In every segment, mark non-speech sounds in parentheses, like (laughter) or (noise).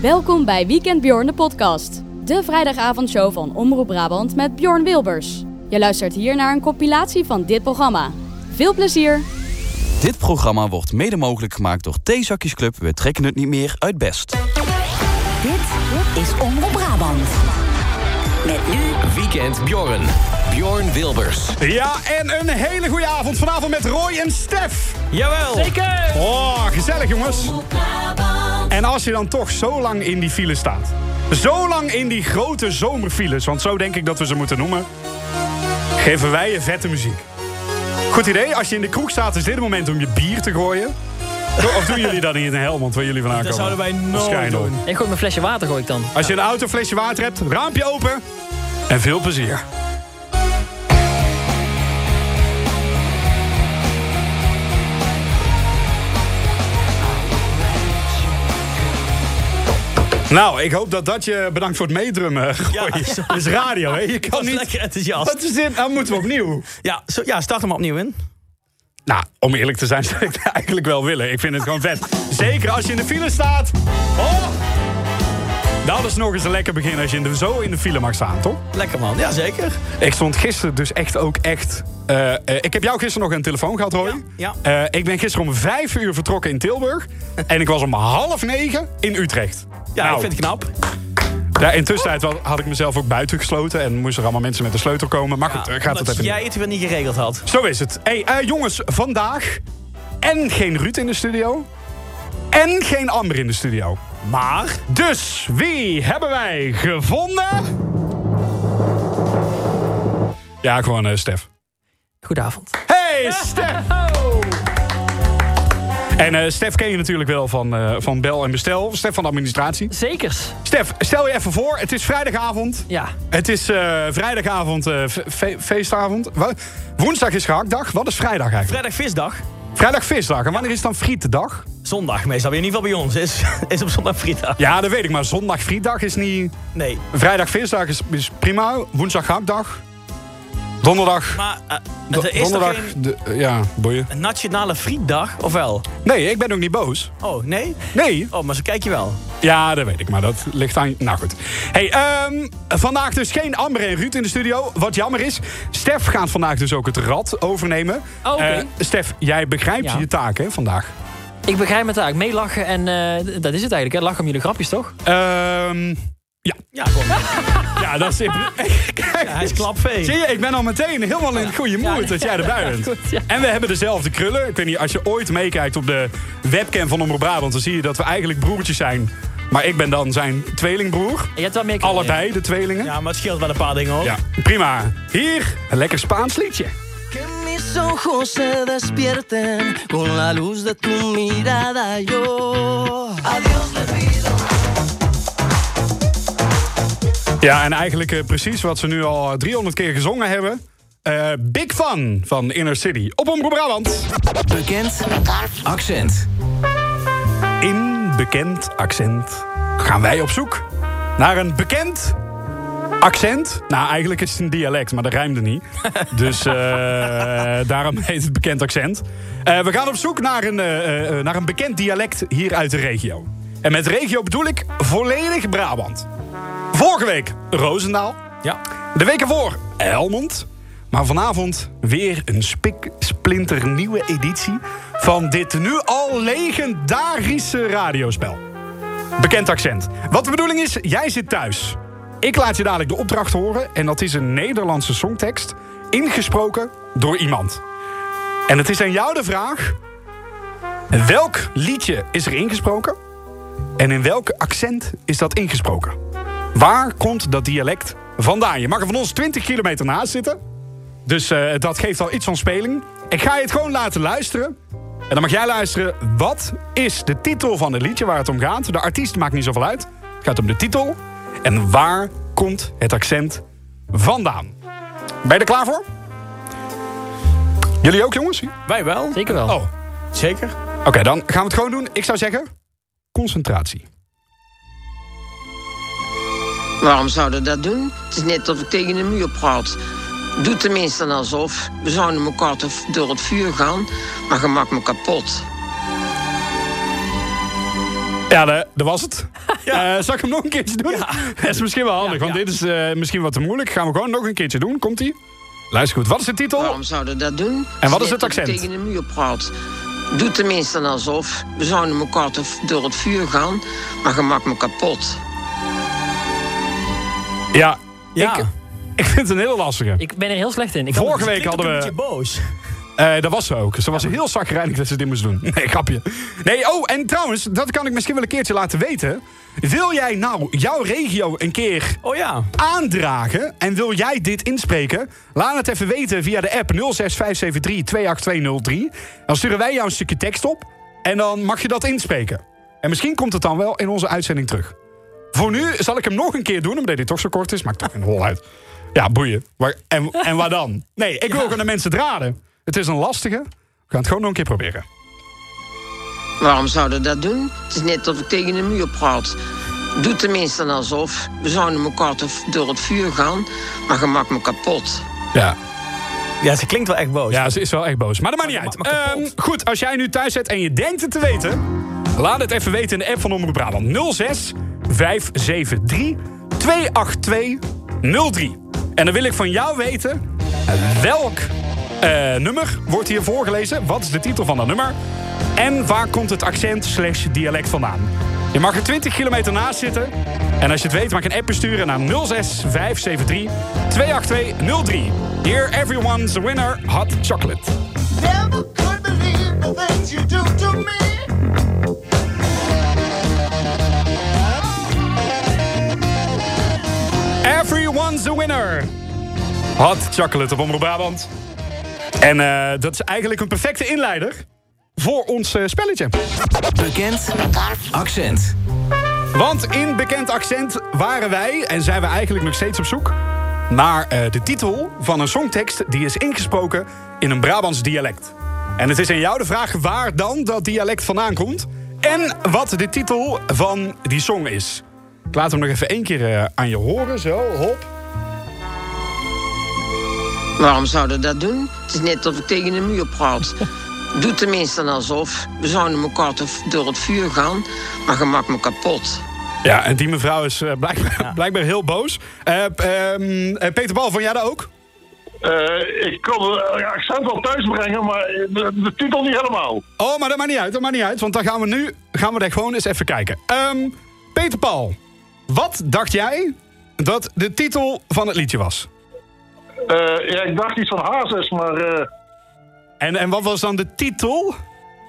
Welkom bij Weekend Bjorn de podcast. De vrijdagavondshow van Omroep Brabant met Bjorn Wilbers. Je luistert hier naar een compilatie van dit programma. Veel plezier! Dit programma wordt mede mogelijk gemaakt door Theezakjes Club. We trekken het niet meer uit best. Dit is Omroep Brabant. Met nu Weekend Bjorn. Bjorn Wilbers. Ja, en een hele goede avond vanavond met Roy en Stef. Jawel. Zeker. Oh, gezellig jongens. En als je dan toch zo lang in die file staat. Zo lang in die grote zomerfiles, want zo denk ik dat we ze moeten noemen. Geven wij je vette muziek. Goed idee, als je in de kroeg staat is dit het moment om je bier te gooien. Of doen jullie dat niet in Helmond, waar jullie vandaan Dat komen? zouden wij nooit Waarschijnlijk. doen. Ik gooi mijn flesje water gooi ik dan. Als je een auto flesje water hebt, raampje open. En veel plezier. Nou, ik hoop dat dat je bedankt voor het meedrummen. eh, Gooi. Het is radio, hè? Je kan Dat is niet. lekker enthousiast. Wat is dit? Dan moeten we opnieuw. Ja, zo, ja, start hem opnieuw in. Nou, om eerlijk te zijn (laughs) zou ik het eigenlijk wel willen. Ik vind het gewoon vet. Zeker als je in de file staat. Oh! Dat is nog eens een lekker begin als je in de, zo in de file mag staan, toch? Lekker man, ja zeker. Ik stond gisteren dus echt ook echt... eh, eh, ik heb jou gisteren nog aan de telefoon gehad, Roy. Ja, Eh, ik ben gisteren om vijf uur vertrokken in (laughs) Tilburg. en ik was om half negen in Utrecht. Ja, Nou, ik vind het knap. ja, in tussentijd wa- had ik mezelf ook buiten gesloten. En moesten er allemaal mensen met de sleutel komen. Maar goed, eh, gaat het dat even niet. jij het weer niet geregeld had. Zo is het. Hey, eh, jongens, vandaag en geen Ruud in de studio. En geen Amber in de studio. Maar, Dus wie hebben wij gevonden? Ja, gewoon eh, Stef. Goedenavond. Hey, Stef! En eh, Stef ken je natuurlijk wel van, eh, van Bel en Bestel. Stef van de administratie. Zekers. Stef, stel je even voor. Het is vrijdagavond. Ja. Het is eh, vrijdagavond, eh, fe- fe- feestavond. Wa- Woensdag is gehaktdag. Wat is vrijdag eigenlijk? vrijdag visdag. Vrijdag visdag. En wanneer is dan frietendag? Zondag meestal, in ieder geval bij ons. Is, (laughs) is op zondag vrijdag. Ja, dat weet ik. Maar zondag frietdag is niet... Nee, Vrijdag visdag is, is prima. Woensdag haakdag. Donderdag... maar eh, do- er is donderdag... toch geen de- eh, ja, boeien. nationale frietdag, of wel? Nee, ik ben ook niet boos. Oh, nee? Nee. Oh, maar ze kijk je wel. Ja, dat weet ik. Maar dat ligt aan... Nou goed. Hey, ehm, vandaag dus geen Amber en Ruud in de studio. Wat jammer is. Stef gaat vandaag dus ook het rad overnemen. Oh, oké. Eh, Stef, jij begrijpt Ja. je taak hè, vandaag. Ik begrijp mijn taak. Meelachen en eh, dat is het eigenlijk. Hè. Lachen om jullie grapjes, toch? Ehm, Ja, gewoon. Ja, ja, dat is... (laughs) Kijk, hij is klapvee. Zie je, ik ben al meteen helemaal in het goede moed dat jij erbij bent. ja. En we hebben dezelfde krullen. Ik weet niet, als je ooit meekijkt op de webcam van Omroep Brabant... dan zie je dat we eigenlijk broertjes zijn. Maar ik ben dan zijn tweelingbroer. Je hebt wel meer kunnen Allebei de tweelingen. Ja, Ja, maar het scheelt wel een paar dingen hoor. prima. Hier, een lekker Spaans liedje. Que mis ojos se despierten con la luz de tu mirada. Yo a Dios le pido. Ja, en eigenlijk eh, precies wat ze nu al 300 keer gezongen hebben. Eh, Big Fun van Inner City op Omroep Brabant. Bekend accent. In bekend accent gaan wij op zoek naar een bekend accent. Nou, eigenlijk is het een dialect, maar dat rijmde niet. Dus eh, daarom heet het bekend accent. Eh, we gaan op zoek naar een, eh, eh, naar een bekend dialect hier uit de regio. En met regio bedoel ik volledig Brabant. Vorige week Roosendaal. Ja. De week ervoor Helmond. Maar vanavond weer een spik, splinter nieuwe editie van dit nu al legendarische radiospel. Bekend accent. Wat de bedoeling is, jij zit thuis. Ik laat je dadelijk de opdracht horen en dat is een Nederlandse songtekst ingesproken door iemand. En het is aan jou de vraag: welk liedje is er ingesproken en in welk accent is dat ingesproken? Waar komt dat dialect vandaan? Je mag er van ons 20 kilometer naast zitten. Dus eh, dat geeft al iets van speling. Ik ga je het gewoon laten luisteren. En dan mag jij luisteren. Wat is de titel van het liedje waar het om gaat? De artiest maakt niet zoveel uit. Het gaat om de titel. En waar komt het accent vandaan? Ben je er klaar voor? Jullie ook, jongens? Wij wel. Zeker wel. Oh, Zeker. Oké, dan gaan we het gewoon doen. Ik zou zeggen, concentratie. Waarom zouden we dat doen? Het is net of ik tegen een muur praat. Doe tenminste alsof. We zouden elkaar toch door het vuur gaan, maar je maakt me kapot. Ja, dat, dat was het. Eh, zal ik hem nog een keertje doen? (laughs) Dat is misschien wel handig, want dit is eh, misschien wat te moeilijk. Gaan we gewoon nog een keertje doen. Komt-ie? Luister goed. Wat is de titel? Waarom zouden dat doen? En wat is Net het of je accent? tegen de muur praat. Doe tenminste alsof. We zouden elkaar te- door het vuur gaan, maar je maakt me kapot. Ja. Ja. Ik, ik vind het een heel lastige. Ik ben er heel slecht in. Ik kan Vorige het- week hadden Een we... beetje boos. Eh, dat was ze ook. Ze was heel zagrijnig dat ze dit moest doen. Nee, grapje. Nee, oh, en trouwens, dat kan ik misschien wel een keertje laten weten. Wil jij nou jouw regio een keer Oh ja. aandragen? En wil jij dit inspreken? Laat het even weten via de app 06573 28203. Dan sturen wij jou een stukje tekst op. En dan mag je dat inspreken. En misschien komt het dan wel in onze uitzending terug. Voor nu zal ik hem nog een keer doen, omdat dit toch zo kort is. Maakt toch een hol uit. Ja, boeien. Maar, en, en waar dan? Nee, ik wil gewoon de mensen het raden. Het is een lastige. We gaan het gewoon nog een keer proberen. Waarom zouden dat doen? Het is net of ik tegen de muur praat. Doe tenminste alsof. We zouden elkaar te- door het vuur gaan, maar je maakt me kapot. Ja. Ja, ze klinkt wel echt boos. Ja, ze is wel echt boos. Maar dat maakt niet uit. Maar- maar kapot. Ehm, goed, als jij nu thuis zit en je denkt het te weten... laat het even weten in de app van Omroep Brabant. 06 573 28203. En dan wil ik van jou weten... welk eh, nummer wordt hier voorgelezen? Wat is de titel van dat nummer? En waar komt het accent slash dialect vandaan? Je mag er 20 kilometer naast zitten. En als je het weet, mag je een app besturen naar 06 573 28203. Here everyone's a winner, hot chocolate. Never could believe the things you do to me. Everyone's a winner. Hot chocolate op Omroep Brabant. En eh, dat is eigenlijk een perfecte inleider voor ons eh, spelletje. Bekend accent. Want in bekend accent waren wij en zijn we eigenlijk nog steeds op zoek naar eh, de titel van een songtekst die is ingesproken in een Brabants dialect. En het is aan jou de vraag waar dan dat dialect vandaan komt en wat de titel van die song is. Ik laat hem nog even één keer eh, aan je horen, zo, hop. Waarom zouden dat doen? Het is net of ik tegen de muur praat. Doe tenminste alsof. We zouden elkaar te- door het vuur gaan, maar je maakt me kapot. Ja, en die mevrouw is eh, blijkbaar, (laughs) blijkbaar heel boos. Eh, p- ehm, eh, Peter Bal, vond jij dat ook? Eh, ik kon het accent wel thuis brengen, maar eh, de, de titel niet helemaal. Oh, maar dat maakt niet uit, dat maakt niet uit. Want dan gaan we nu gaan we daar gewoon eens even kijken. Ehm, Peter Paul, wat dacht jij dat de titel van het liedje was? Eh, ja, ik dacht iets van Hazes, maar eh, En, en wat was dan de titel?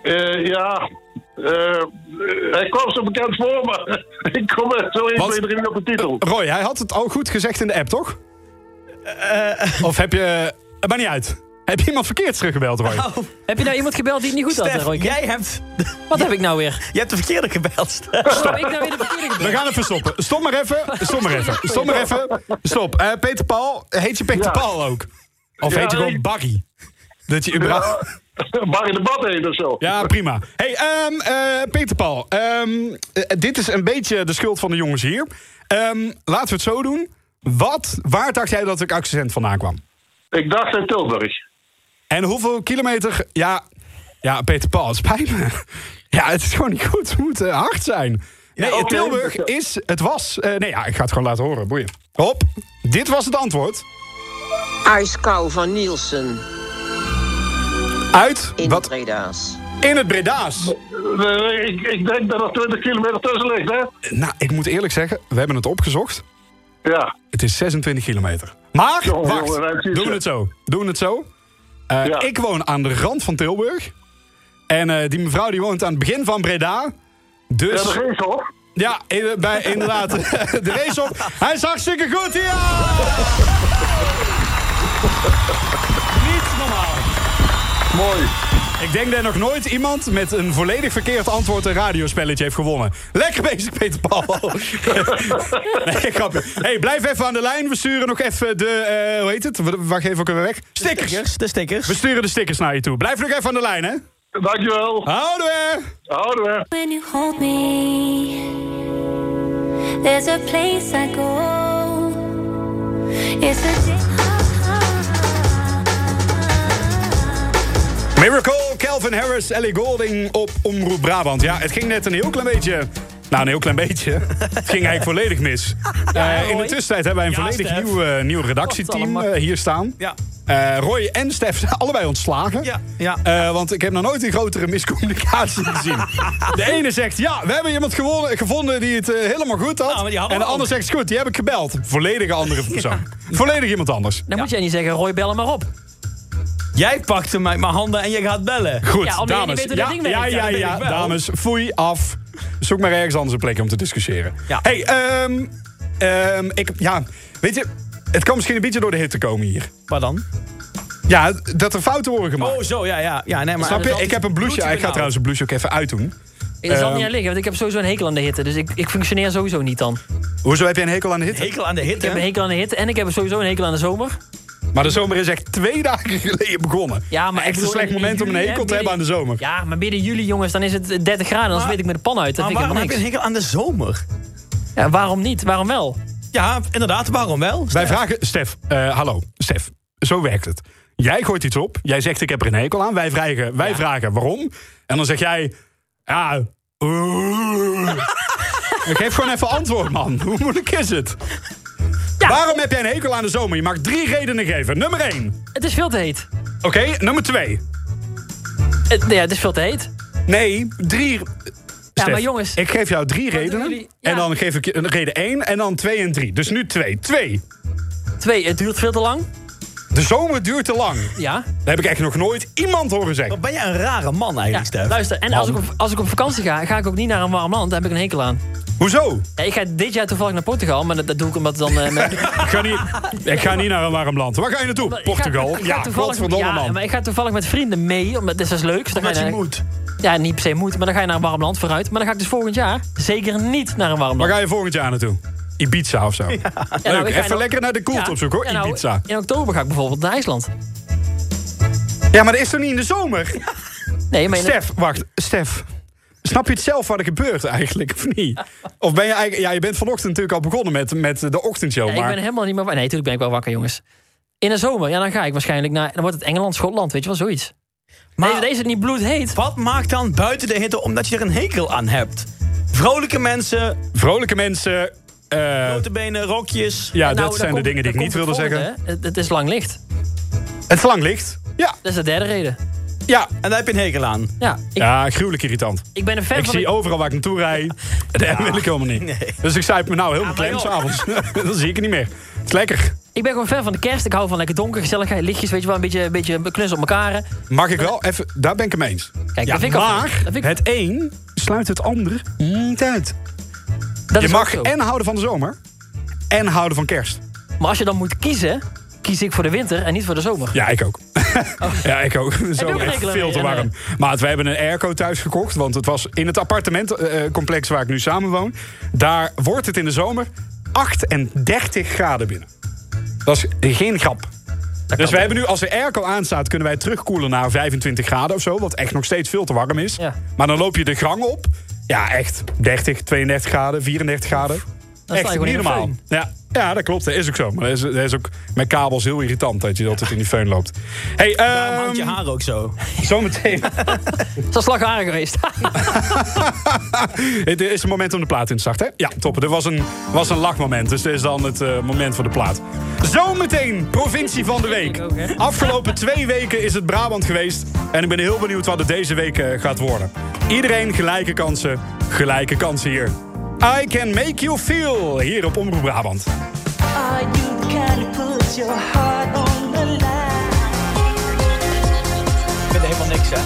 eh, ja. eh, hij kwam zo bekend voor, maar (laughs) ik kom er zo 1, Wat? 2, 3 niet op de titel. Roy, hij had het al goed gezegd in de app, toch? Of heb je... Het maakt niet uit. Heb je iemand verkeerd teruggebeld, Roy? Oh, Heb je nou iemand gebeld die het niet goed had, Stef, Royke? jij hebt, Wat heb ik nou weer? je hebt de verkeerde gebeld. Stef. Stop. ik nou weer de verkeerde gebeld? We gaan even stoppen. Stop maar even. Stop maar even. Stop maar even. Stop. Eh, Peter Paul, heet je Peter Ja. Paul ook? Of heet je Ja, gewoon ik- Barry? Dat je überhaupt... (laughs) Barry de Bad heet of zo. Ja, prima. Hey, ehm, eh, Peter Paul. ehm, eh, dit is een beetje de schuld van de jongens hier. Ehm, laten we het zo doen. Wat, waar dacht jij dat ik accent vandaan kwam? Ik dacht in Tilburg. En hoeveel kilometer... Ja, ja Peter Paul, het spijt me. Ja, het is gewoon niet goed. We moeten hard zijn. Nee, oké. Tilburg is... Het was... eh, nee, ja, ik ga het gewoon laten horen. Boeien. Hop. Dit was het antwoord. IJskou van Nielsen Uit... in Wat? Breda's. In het Breda's. Eh, ik, ik denk dat er 20 kilometer tussen ligt, hè? Nou, ik moet eerlijk zeggen, we hebben het opgezocht. Ja. Het is 26 kilometer. Maar, Jongen, wacht, jongen, dat is doen we zo. het zo. Doen we het zo. Eh, Ja. Ik woon aan de rand van Tilburg. En eh, die mevrouw die woont aan het begin van Breda. Ja, Dus dat is hoor. ja, in- bij, (laughs) inderdaad, (laughs) de race op. Hij is hartstikke goed, ja! Niet normaal. Mooi. Ik denk dat nog nooit iemand met een volledig verkeerd antwoord een radiospelletje heeft gewonnen. Lekker bezig, Peter (laughs) Paul. nee, grapje. hey, blijf even aan de lijn. We sturen nog even de, eh, hoe heet het? Wa- Wacht even, ook weer weg. Stickers. De stickers. We sturen de stickers naar je toe. Blijf nog even aan de lijn, hè. Dankjewel. Houden we. Houden we. When you hold me, there's a place I go. It's a Miracle, Calvin Harris, Ellie Golding op Omroep Brabant. Ja, het ging net een heel klein beetje Nou, een heel klein beetje. Het ging eigenlijk volledig mis. Eh, in de tussentijd hebben wij een volledig nieuw, eh, nieuw redactieteam eh, hier staan. Ja. Eh, Roy en Stef zijn (laughs) allebei ontslagen. Ja, ja. want ik heb nog nooit een grotere miscommunicatie (laughs) gezien. De ene zegt, ja, we hebben iemand gewonnen, gevonden die het eh, helemaal goed had. Nou, die hadden en de we ander ook. zegt, "Is goed, die heb ik gebeld. Volledige andere persoon. Volledig iemand anders. Dan moet jij niet zeggen, Roy, bel hem maar op. Jij pakte mij mijn handen en je gaat bellen. Goed, Ja, omdat jullie dames. weten hoe ja, dat ding ja, werkt. Ja, ja, dat ja, weet ik wel. dames. Foei af. Zoek maar ergens anders een plek om te discussiëren. Hey, ehm, ehm, ik, ja, weet je, het kan misschien een beetje door de hit te komen hier. Waar dan? Ja, dat er fouten worden gemaakt. Oh, zo, ja, ja. ja nee, maar Snap dat is je? altijd Ik heb een bloedje blouseje. Ik ga benauwd. trouwens een blouseje ook even uitdoen. Ik zal Ehm, niet aan liggen, want ik heb sowieso een hekel aan de hitte. Dus ik, ik functioneer sowieso niet dan. Hoezo heb jij een hekel aan de hitte? Hekel aan de Ik hitte. heb een hekel aan de hitte en ik heb sowieso een hekel aan de zomer. Maar de zomer is echt twee dagen geleden begonnen. Ja, maar ik echt bedoel, een slecht in- in moment om een juli, hekel hè, te hebben aan de midden- zomer. Ja, maar midden juli, jongens, dan is het 30 graden. Dan zweet ik met de pan uit. Dat Maar vind ik waarom helemaal heb je een niks. hekel aan de zomer? Ja, waarom niet? Waarom wel? Ja, inderdaad, waarom wel? Wij vragen, Stef, eh, hallo, Stef, zo werkt het. Jij gooit iets op, jij zegt ik heb er een hekel aan, wij vragen, wij vragen waarom. En dan zeg jij, ja, oeh. Ik geef gewoon even antwoord, man. Hoe moeilijk is het? Waarom heb jij een hekel aan de zomer? Je mag drie redenen geven. Nummer één. Het is veel te heet. Oké, nummer twee. Het, nee, het is veel te heet. Nee, drie... Stef, maar jongens. Ik geef jou drie redenen. jullie? En Ja. dan geef ik je een reden één en dan twee en drie. Dus nu twee. Twee. Twee, het duurt veel te lang. De zomer duurt te lang. Ja. Dat heb ik echt nog nooit iemand horen zeggen. Wat ben jij een rare man ja. eigenlijk, Stef? Luister, en als ik, op, als ik op vakantie ga, ga ik ook niet naar een warm land. Daar heb ik een hekel aan. Hoezo? Ja, ik ga dit jaar toevallig naar Portugal, maar dat, dat doe ik (laughs) omdat dan... eh, mijn- Ik ga, niet, ik ga niet naar een warm land. Waar ga je naartoe? Ik ga- Portugal. ik ga ja, toevallig- godverdomme ja, man. maar ik ga toevallig met vrienden mee, omdat dit is dus leuk. Dan ga je Omdat je naar- moet. Ja, niet per se moet, maar dan ga je naar een warm land vooruit. Maar dan ga ik dus volgend jaar zeker niet naar een warm Waar land. ga je volgend jaar naartoe? Ibiza of zo. Leuk, Ja, nou, ik ga even in- lekker naar de koelt Ja, opzoeken hoor, ja, nou, Ibiza. In oktober ga ik bijvoorbeeld naar IJsland. Ja, maar dat is toch niet in de zomer? Nee, maar in- Stef, wacht. Stef, snap je het zelf wat er gebeurt eigenlijk, of niet? Of ben je eigenlijk... Ja, je bent vanochtend natuurlijk al begonnen met, met de ochtendshow, Ja, ik maar... ben helemaal niet meer wakker. Nee, natuurlijk ben ik wel wakker, jongens. In de zomer, ja, dan ga ik waarschijnlijk naar... Dan wordt het Engeland, Schotland, weet je wel, zoiets. Maar deze, deze niet bloedheet. Wat maakt dan buiten de hitte omdat je er een hekel aan hebt? Vrolijke mensen, Vrolijke mensen... eh, grote benen, rokjes. ja, Nou, dat dan zijn de Nou, komt- dingen die ik dan niet komt wilde het zeggen. volgende, hè. Het, het is lang licht. Het is lang licht. Ja, Dat is de derde reden. ja. En daar heb je een hekel aan. Ja, ik, Ja, gruwelijk irritant. ik ben een fan Ik van... zie de- overal waar ik naartoe (laughs) rijd. Dat wil ik helemaal niet. Dus ik zuip me nou heel beklemd joh. s'avonds. (laughs) Dan zie ik het niet meer. Het is lekker. Ik ben gewoon fan van de kerst. Ik hou van lekker donker, gezelligheid, lichtjes, weet je wel. Een beetje, een beetje knus op elkaar. Mag ik wel even... Daar ben ik hem eens. Kijk, Ja, dat vind ik al- maar dat vind ik- het een sluit het ander niet uit. Dat Je is mag ook zo. en houden van de zomer... en houden van kerst. Maar als je dan moet kiezen, kies ik voor de winter en niet voor de zomer. Ja, ik (laughs) ook. ja, ik ook. Zo Oh. ook echt regelen veel te mee, warm. Maar we hebben een airco thuis gekocht. Want het was in het appartementcomplex waar ik nu samen woon. Daar wordt het in de zomer 38 graden binnen. Dat is geen grap. Dus we hebben nu, als de airco aanstaat, kunnen wij terugkoelen naar 25 graden of zo. Wat echt nog steeds veel te warm is. Ja. Maar dan loop je de gang op. Ja, echt 30, 32 graden, 34 graden. sta je Echt gewoon niet in de normaal. föhn. Ja, ja, dat klopt. Dat is ook zo. Maar dat is, dat is ook met kabels heel irritant dat je altijd in die föhn loopt. hey, Waarom ehm hangt je haar ook zo? zometeen. (laughs) Het is al slagharen geweest. (laughs) het is het moment om de plaat in te starten. hè? Ja, toppen. Er was een, was een lachmoment. Dus dit is dan het eh, moment voor de plaat. Zometeen, provincie van de week. ook, hè? Afgelopen twee weken is het Brabant geweest. En ik ben heel benieuwd wat het deze week eh, gaat worden. Iedereen gelijke kansen. Gelijke kansen hier. I can make you feel. Hier op Omroep Brabant. Are you can put your heart on the line? Ik vind helemaal niks, hè?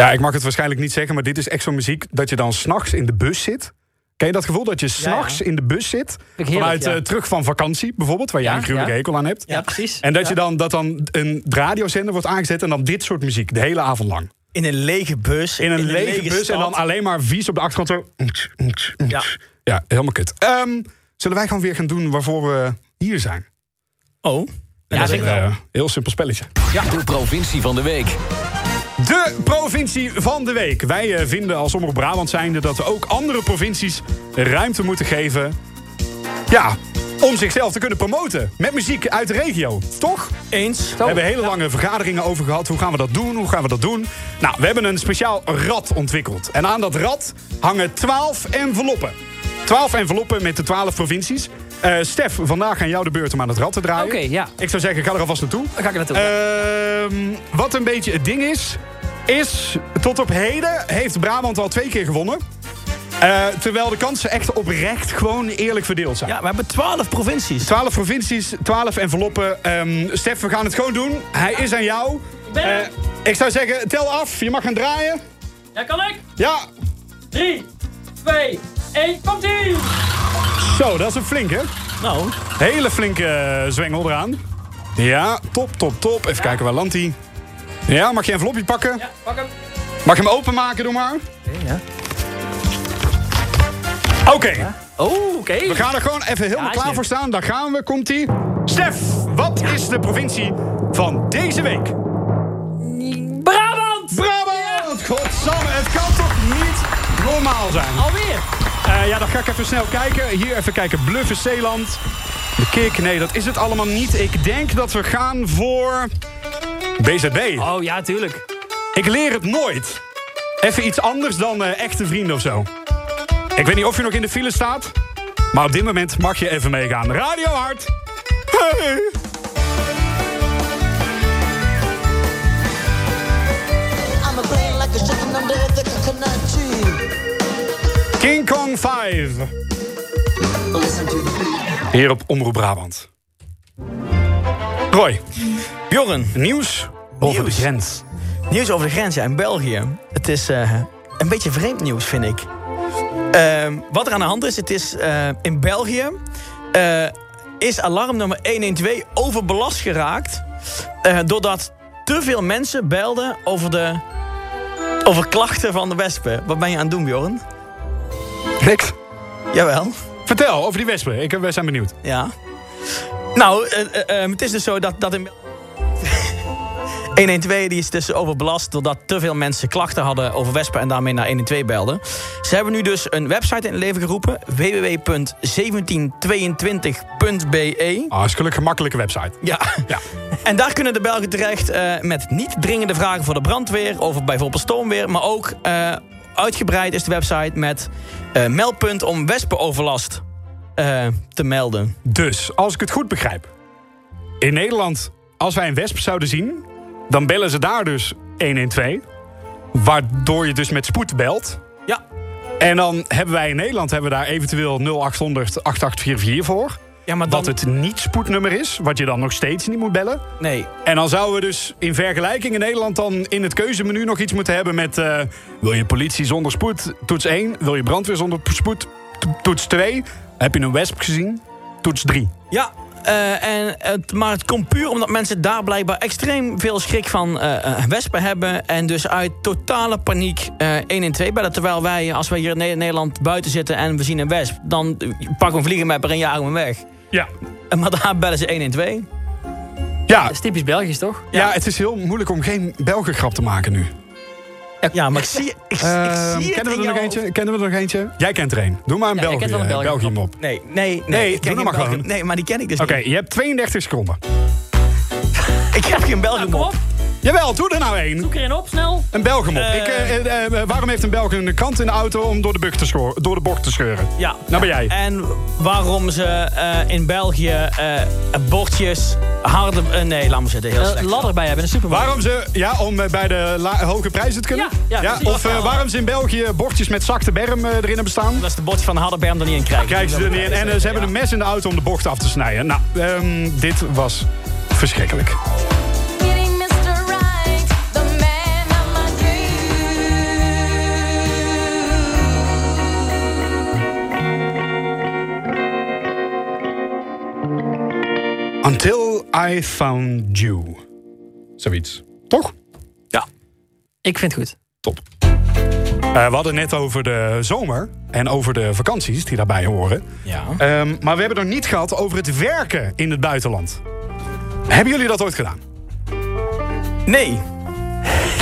Ja, ik mag het waarschijnlijk niet zeggen, maar dit is echt zo'n muziek dat je dan s'nachts in de bus zit. Ken je dat gevoel dat je s'nachts in de bus zit? ik heerlijk, vanuit ja. eh, terug van vakantie bijvoorbeeld, waar jij Ja, een gruwelijke ja. hekel aan hebt. Ja, precies. En dat, je dan, dat dan een radiozender wordt aangezet en dan dit soort muziek de hele avond lang. In een lege bus. In een lege, bus en dan stad. alleen maar vies op de achtergrond. Zo. Ja, helemaal kut. Ehm, zullen wij gewoon weer gaan doen waarvoor we hier zijn? Oh. Ja, Dat is een, eh, heel simpel spelletje. De provincie van de week. De provincie van de week. Wij eh, vinden als Omroep Brabant zijnde dat we ook andere provincies ruimte moeten geven. Ja, om zichzelf te kunnen promoten. Met muziek uit de regio, toch? Eens. We hebben hele lange vergaderingen over gehad. Hoe gaan we dat doen? Hoe gaan we dat doen? Nou, we hebben een speciaal rad ontwikkeld. En aan dat rad hangen 12 enveloppen. 12 enveloppen met de 12 provincies. Eh, Stef, vandaag aan jou de beurt om aan het rad te draaien. Oké, ja. Ik zou zeggen, ga er alvast naartoe. Dan ga ik er naartoe. Eh, Ehm, wat een beetje het ding is, is tot op heden heeft Brabant al twee keer gewonnen. Eh, terwijl de kansen echt oprecht gewoon eerlijk verdeeld zijn. Ja, we hebben twaalf provincies. Twaalf provincies, twaalf enveloppen. Ehm, Stef, we gaan het gewoon doen. Hij is aan jou. Eh, ik zou zeggen, tel af. Je mag gaan draaien. Ja, kan ik? Ja, 3, 2, 1, komt ie! zo, dat is een flinke. Nou. Hele flinke eh, zwengel eraan. Ja, top, top, top. Even kijken, waar landt hij? Ja, mag je een envelopje pakken? Pak hem. Mag je hem openmaken, doe maar? ja. Oké. Oh, oké. We gaan er gewoon even helemaal Ja, is klaar leuk. voor staan. Daar gaan we, komt-ie. Stef, wat is de provincie van deze week? Brabant! Brabant! Godsamme, het kan toch niet normaal zijn? Alweer? Eh, ja, dan ga ik even snel kijken. Hier even kijken. Bluffen Zeeland. De Kik, nee, dat is het allemaal niet. Ik denk dat we gaan voor... BZB. Oh ja, tuurlijk. Ik leer het nooit. Even iets anders dan eh, echte vrienden of zo. Ik weet niet of je nog in de file staat. Maar op dit moment mag je even meegaan. Radio Hard. Hey. I'm a brain like a chicken under the coconut tree. King Kong 5. Hier op Omroep Brabant. Roy. Bjorn. Nieuws over de grens. Nieuws over de grens, ja, in België. Het is eh, een beetje vreemd nieuws, vind ik. Ehm, wat er aan de hand is, het is eh, in België... eh, is alarmnummer 112 overbelast geraakt... eh, doordat te veel mensen belden over de... over klachten van de wespen. Wat ben je aan het doen, Bjorn? Niks. Jawel. Vertel over die wespen. Ik, wij zijn benieuwd. Ja. Nou, eh, eh, eh, het is dus zo dat, dat in... (laughs) Bel- 112 die is dus overbelast doordat te veel mensen klachten hadden over wespen en daarmee naar 112 belden. Ze hebben nu dus een website in het leven geroepen, www.1722.be. Ah, is gelukkig een makkelijke website. Ja. (laughs) En daar kunnen de Belgen terecht eh, met niet dringende vragen voor de brandweer... over bijvoorbeeld stormweer, maar ook eh, uitgebreid is de website... met eh, meldpunt om wespenoverlast eh, te melden. Dus, als ik het goed begrijp. In Nederland, als wij een wesp zouden zien... dan bellen ze daar dus 112. Waardoor je dus met spoed belt. Ja. En dan hebben wij in Nederland hebben we daar eventueel 0800 8844 voor. Ja, maar Wat het niet spoednummer is, wat je dan nog steeds niet moet bellen. Nee. En dan zouden we dus in vergelijking in Nederland dan in het keuzemenu nog iets moeten hebben met... eh, wil je politie zonder spoed? Toets 1. Wil je brandweer zonder spoed? to- Toets 2. Heb je een wesp gezien? Toets 3. Ja, eh, en het, maar het komt puur omdat mensen daar blijkbaar extreem veel schrik van eh, eh, wespen hebben. En dus uit totale paniek eh 1 en 2 bellen. Terwijl wij, als wij hier in Ne- Nederland buiten zitten en we zien een wesp... dan eh, pakken we een vliegenmepper en jagen we hem weg. Ja. Eh, Maar daar bellen ze 1 en 2. Ja. Dat is typisch Belgisch, toch? Ja, het is heel moeilijk om geen Belgengrap te maken nu. Ja, maar ik zie, ik, ik Ehm, zie kennen, we het in er nog jou. eentje? kennen we er nog eentje? Jij kent er een. Doe maar een Ja, ik België, ken wel een eh, België. België mop. Nee, nee, nee. Nee, doe ik ken dat geen maar Belgen. gewoon. Nee, maar die ken ik dus Oké, niet. je hebt 32 seconden. Ik heb geen Belgenmop. op. Jawel, doe er nou één. Zoek erin op, snel. Een Belgenmop. Eh. Ik, eh, eh, eh, waarom heeft een Belg een kant in de auto om door de, buk te scho- door de bocht te scheuren? Ja. Eh. Nou ben jij. En waarom ze eh, in België eh, bordjes harde... eh, nee, laat maar zitten. Heel Een slecht. ladder bij hebben in de supermarkt. Waarom ze, ja, om eh, bij de la- hoge prijzen te kunnen? Ja, ja, precies. of eh, waarom ze in België bordjes met zakte berm eh, erin hebben staan? Dat is de bordje van harde berm er niet in krijgen. Krijgen ze er niet in. En eh, ze hebben Ja. een mes in de auto om de bocht af te snijden. Nou, ehm, dit was verschrikkelijk. Until I found you. Zoiets. Toch? Ja. Ik vind het goed. Top. Eh, we hadden net over de zomer en over de vakanties die daarbij horen. Ja. Ehm, maar we hebben het nog niet gehad over het werken in (laughs) het buitenland. Hebben jullie dat ooit gedaan? Nee.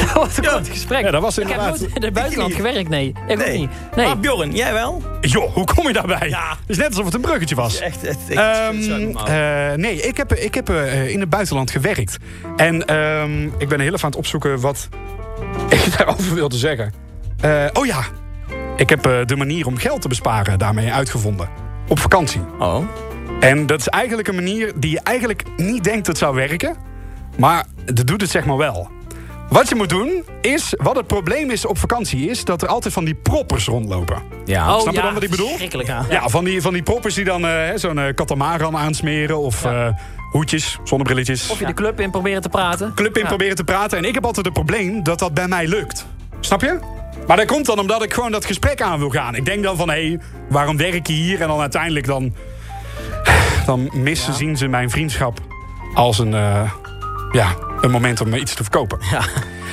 dat was een kort gesprek. Ja, dat was inderdaad- Ah, Ik heb nooit in het buitenland gewerkt, nee. Ik ook niet. Nee. Maar Ah, Bjorn, jij wel? Joh, hoe kom je daarbij? Het is net alsof het een bruggetje was. Echt, echt, Ehm, eh, nee, ik heb, ik heb eh, in het buitenland gewerkt. En ehm, ik ben heel even aan het opzoeken wat ik (laughs) daarover wilde zeggen. Eh, oh ja, ik heb eh, de manier om geld te besparen daarmee uitgevonden. Op vakantie. Oh. En dat is eigenlijk een manier die je eigenlijk niet denkt dat zou werken. Maar dat doet het zeg maar wel. Wat je moet doen is, wat het probleem is op vakantie is... dat er altijd van die proppers rondlopen. Ja. Snap je dan wat ik bedoel? Schrikkelijk. Oh, Ja. Ja, van die, van die proppers die dan eh, hè, zo'n eh, katamaran aansmeren of eh, hoedjes, zonnebrilletjes. Of je de club in proberen te praten. Club in Ja. proberen te praten. En ik heb altijd het probleem dat dat bij mij lukt. Snap je? Maar dat komt dan omdat ik gewoon dat gesprek aan wil gaan. Ik denk dan van, hé, waarom werk je hier? En dan uiteindelijk dan, dan missen zien ze mijn vriendschap als een, eh, ja, een moment om iets te verkopen.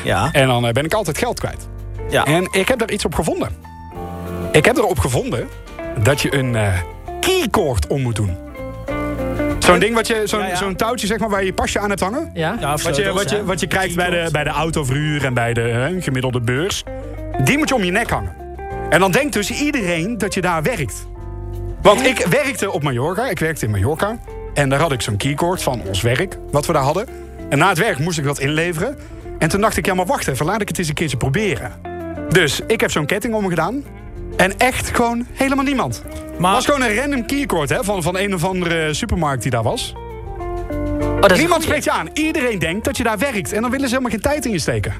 Ja. En dan eh, ben ik altijd geld kwijt. Ja. En ik heb daar iets op gevonden. Ik heb erop gevonden dat je een eh keycord om moet doen. Zo'n ding, wat je, zo'n, zo'n touwtje zeg maar, waar je je pasje aan hebt hangen. Ja? Ja, of wat, je, sleutels, wat, je, ja. wat je krijgt bij de, bij de autoverhuur en bij de hè, gemiddelde beurs. Die moet je om je nek hangen. En dan denkt dus iedereen dat je daar werkt. Want ik werkte op Mallorca. Ik werkte in Mallorca. En daar had ik zo'n keycord van ons werk, wat we daar hadden. En na het werk moest ik dat inleveren. En toen dacht ik, ja maar wacht even, laat ik het eens een keertje proberen. Dus ik heb zo'n ketting om gedaan. En echt gewoon helemaal niemand. Maar- was gewoon een random keycord hè, van, van een of andere supermarkt die daar was. Oh, dat is Niemand een goeie. spreekt je aan. Iedereen denkt dat je daar werkt. En dan willen ze helemaal geen tijd in je steken.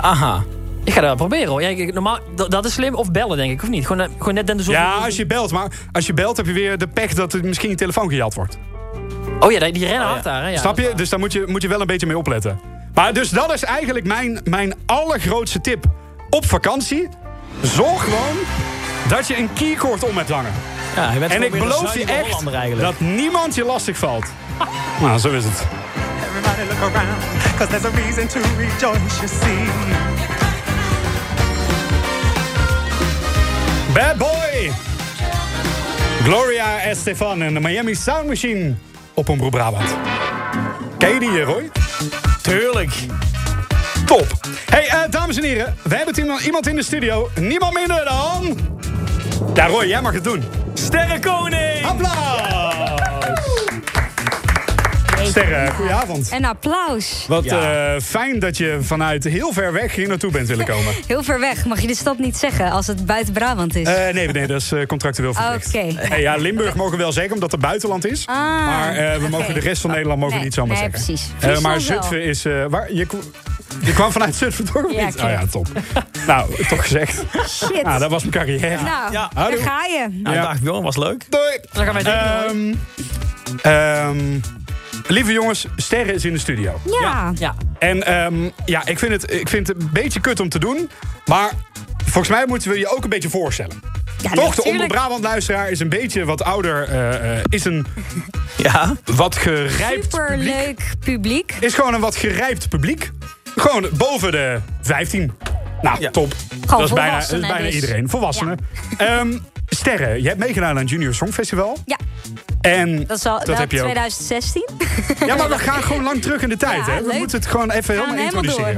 Aha. Ik ga dat wel proberen hoor. Ja, ik- ik- normaal, dat, dat is slim. Of bellen denk ik, of niet? Gewoon, eh, gewoon net dan zo. Ja, als je belt. Maar als je belt heb je weer de pech dat er misschien je telefoon gejat wordt. Oh ja, die, die rennen hard daar. Hè? Ja. Snap je? Dus daar moet je, moet je wel een beetje mee opletten. Maar dus dat is eigenlijk mijn, mijn allergrootste tip op vakantie. Zorg gewoon dat je een keycord om hebt hangen. Ja, je bent En gewoon ik weer een beloof je zuinige echt Hollander eigenlijk. dat niemand je lastig valt. (laughs) Nou, zo is het. Everybody look around, cause there's a reason to rejoice, you see. Bad Boy! Gloria Estefan en de Miami Sound Machine op Omroep Brabant. Ken je die, eh, Roy? Tuurlijk. Top. Hey, eh, dames en heren, we hebben het iemand- iemand in de studio. Niemand minder dan... Ja, Roy, jij mag het doen. Sterrenkoning! Applaus! Sterren, goedenavond. En applaus. Wat eh, fijn dat je vanuit heel ver weg hier naartoe bent willen komen. Heel ver weg. Mag je de stad niet zeggen als het buiten Brabant is? Eh, nee, nee, dat is eh, contractueel verplicht. Oh, Oké. Ah, Eh, ja, Limburg mogen we wel zeggen, omdat het buitenland is. maar eh, we mogen oké. Oh, de rest van Nederland mogen we Nee, niet zomaar nee, zeggen. precies. Eh, Friesland maar wel. Zutphen is... eh, waar, je, kw- je (laughs) kwam vanuit Zutphen toch of Ja, niet? klopt. Ah ja, top. nou, toch (laughs) gezegd. Shit. Ah, dat was mijn carrière. Nou, Ja. daar Houdoe. ga je. Nou, dag Bjorn, was leuk. Doei. Dan gaan wij denken, Ehm, ehm, lieve jongens, Sterren is in de studio. Ja. Ja. En ehm, ja, ik vind, het, ik vind het een beetje kut om te doen. Maar volgens mij moeten we je ook een beetje voorstellen. Toch, de natuurlijk. Omroep Brabant luisteraar is een beetje wat ouder. eh, eh, is een Ja. wat gerijpt publiek. Superleuk publiek. Is gewoon een wat gerijpt publiek. Gewoon boven de 15. Nou, top. Dat is, bijna, dat is volwassenen bijna dus. iedereen. Volwassenen. Ehm, Sterren, je hebt meegedaan aan het Junior Songfestival. Ja. En Dat is al nou, wel heb je ook. 2016. Ja, maar we gaan gewoon lang terug in de tijd. Ja, hè? We leuk. moeten het gewoon even Gaan helemaal helemaal door.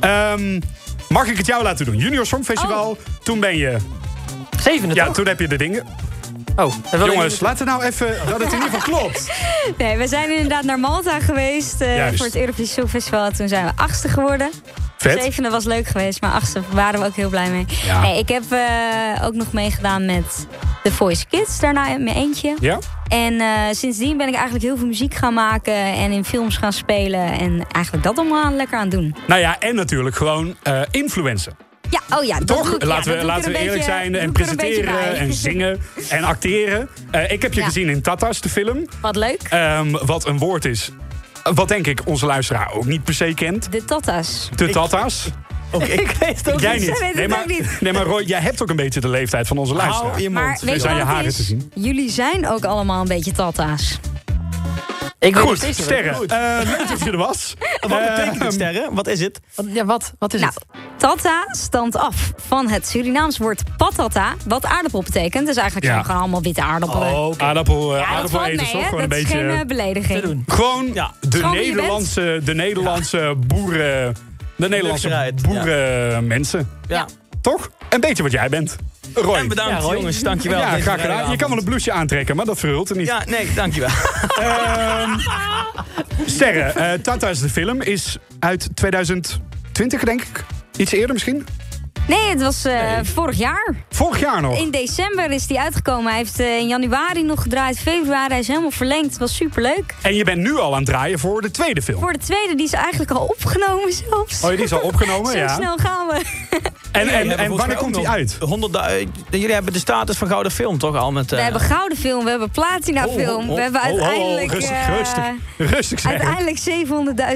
introduceren. Ehm, mag ik het jou laten doen? Junior Songfestival. Oh. Toen ben je... Zevende, Ja, toch? toen heb je de dingen. Oh, dat wil ik Jongens, niet- laat het nou even... Dat het in ieder geval klopt. (laughs) Nee, we zijn inderdaad naar Malta geweest eh, Juist. voor het Eurovisie Songfestival. Toen zijn we achtste geworden. Vet. Zevende was leuk geweest, maar achtste waren we ook heel blij mee. Ja. Nee, ik heb eh, ook nog meegedaan met The Voice Kids, daarna in mijn eentje. Ja? En eh, sindsdien ben ik eigenlijk heel veel muziek gaan maken en in films gaan spelen. En eigenlijk dat allemaal lekker aan doen. Nou ja, en natuurlijk gewoon eh influencer. Ja, oh ja, dat Toch? doe ik, ja, dat laten doe ik we, er laten een we eerlijk beetje- zijn. doe En ik er een beetje presenteren bij. (laughs) en zingen en acteren. Eh, ik heb je Ja. gezien in Tatas, de film. Wat leuk. Ehm, wat een woord is. eh, Wat denk ik onze luisteraar ook niet per se kent. De Tatas. De Tatas. Ook (laughs) ik. weet het ook Jij niet. (laughs) niet. Ik weet het nee, ook maar, niet. (laughs) Nee, maar Roy, jij hebt ook een beetje de leeftijd van onze luisteraar. je mond. Maar weet Dus je aan je wat haren het te is? zien. Jullie zijn ook allemaal een beetje Tatas. Ik weet nog Goed, steeds niet wat ik sterren. moet. Eh, leuk dat je er (laughs) was. Ehm, Wat betekent het, Sterren? Wat is het? Wat- Ja, wat, wat is Nou, het? tata stamt af van het Surinaams woord patata, wat aardappel betekent. Dus eigenlijk Ja. zijn we gewoon allemaal witte aardappelen. Oh, Aardappel, eh, Ja, dat valt mee, aardappeleters toch? hè? Gewoon Dat een is beetje... geen eh, belediging. Te doen. Gewoon de Gewoon wie je Nederlandse, de Nederlandse boeren de Nederlandse eruit, ja. boerenmensen. Ja. Toch? Een beetje wat jij bent. Roy. En bedankt, Ja, Roy. jongens. Dankjewel. Ja, graag Deze gedaan. Je vrijdagavond. kan wel een blouseje aantrekken, maar dat verhult er niet. Ja, nee, (laughs) dankjewel. Ehm, sterren. eh, Tata is de film. Is uit 2020, denk ik. Iets eerder misschien. Nee, het was eh, vorig jaar. Vorig jaar nog. In december is die uitgekomen. Hij heeft eh, in januari nog gedraaid. Februari hij is helemaal verlengd. Het was superleuk. En je bent nu al aan het draaien voor de tweede film. Voor de tweede, die is eigenlijk al opgenomen zelfs. Oh, die is al opgenomen, (laughs) Zo ja. snel gaan we. En, en, en wanneer komt die uit? 100 eh, jullie hebben de status van Gouden Film toch al? Met, eh, We hebben gouden film, we hebben platina film. oh, oh, we hebben oh, oh, oh, uiteindelijk... rustig, eh, rustig, rustig zeg. Uiteindelijk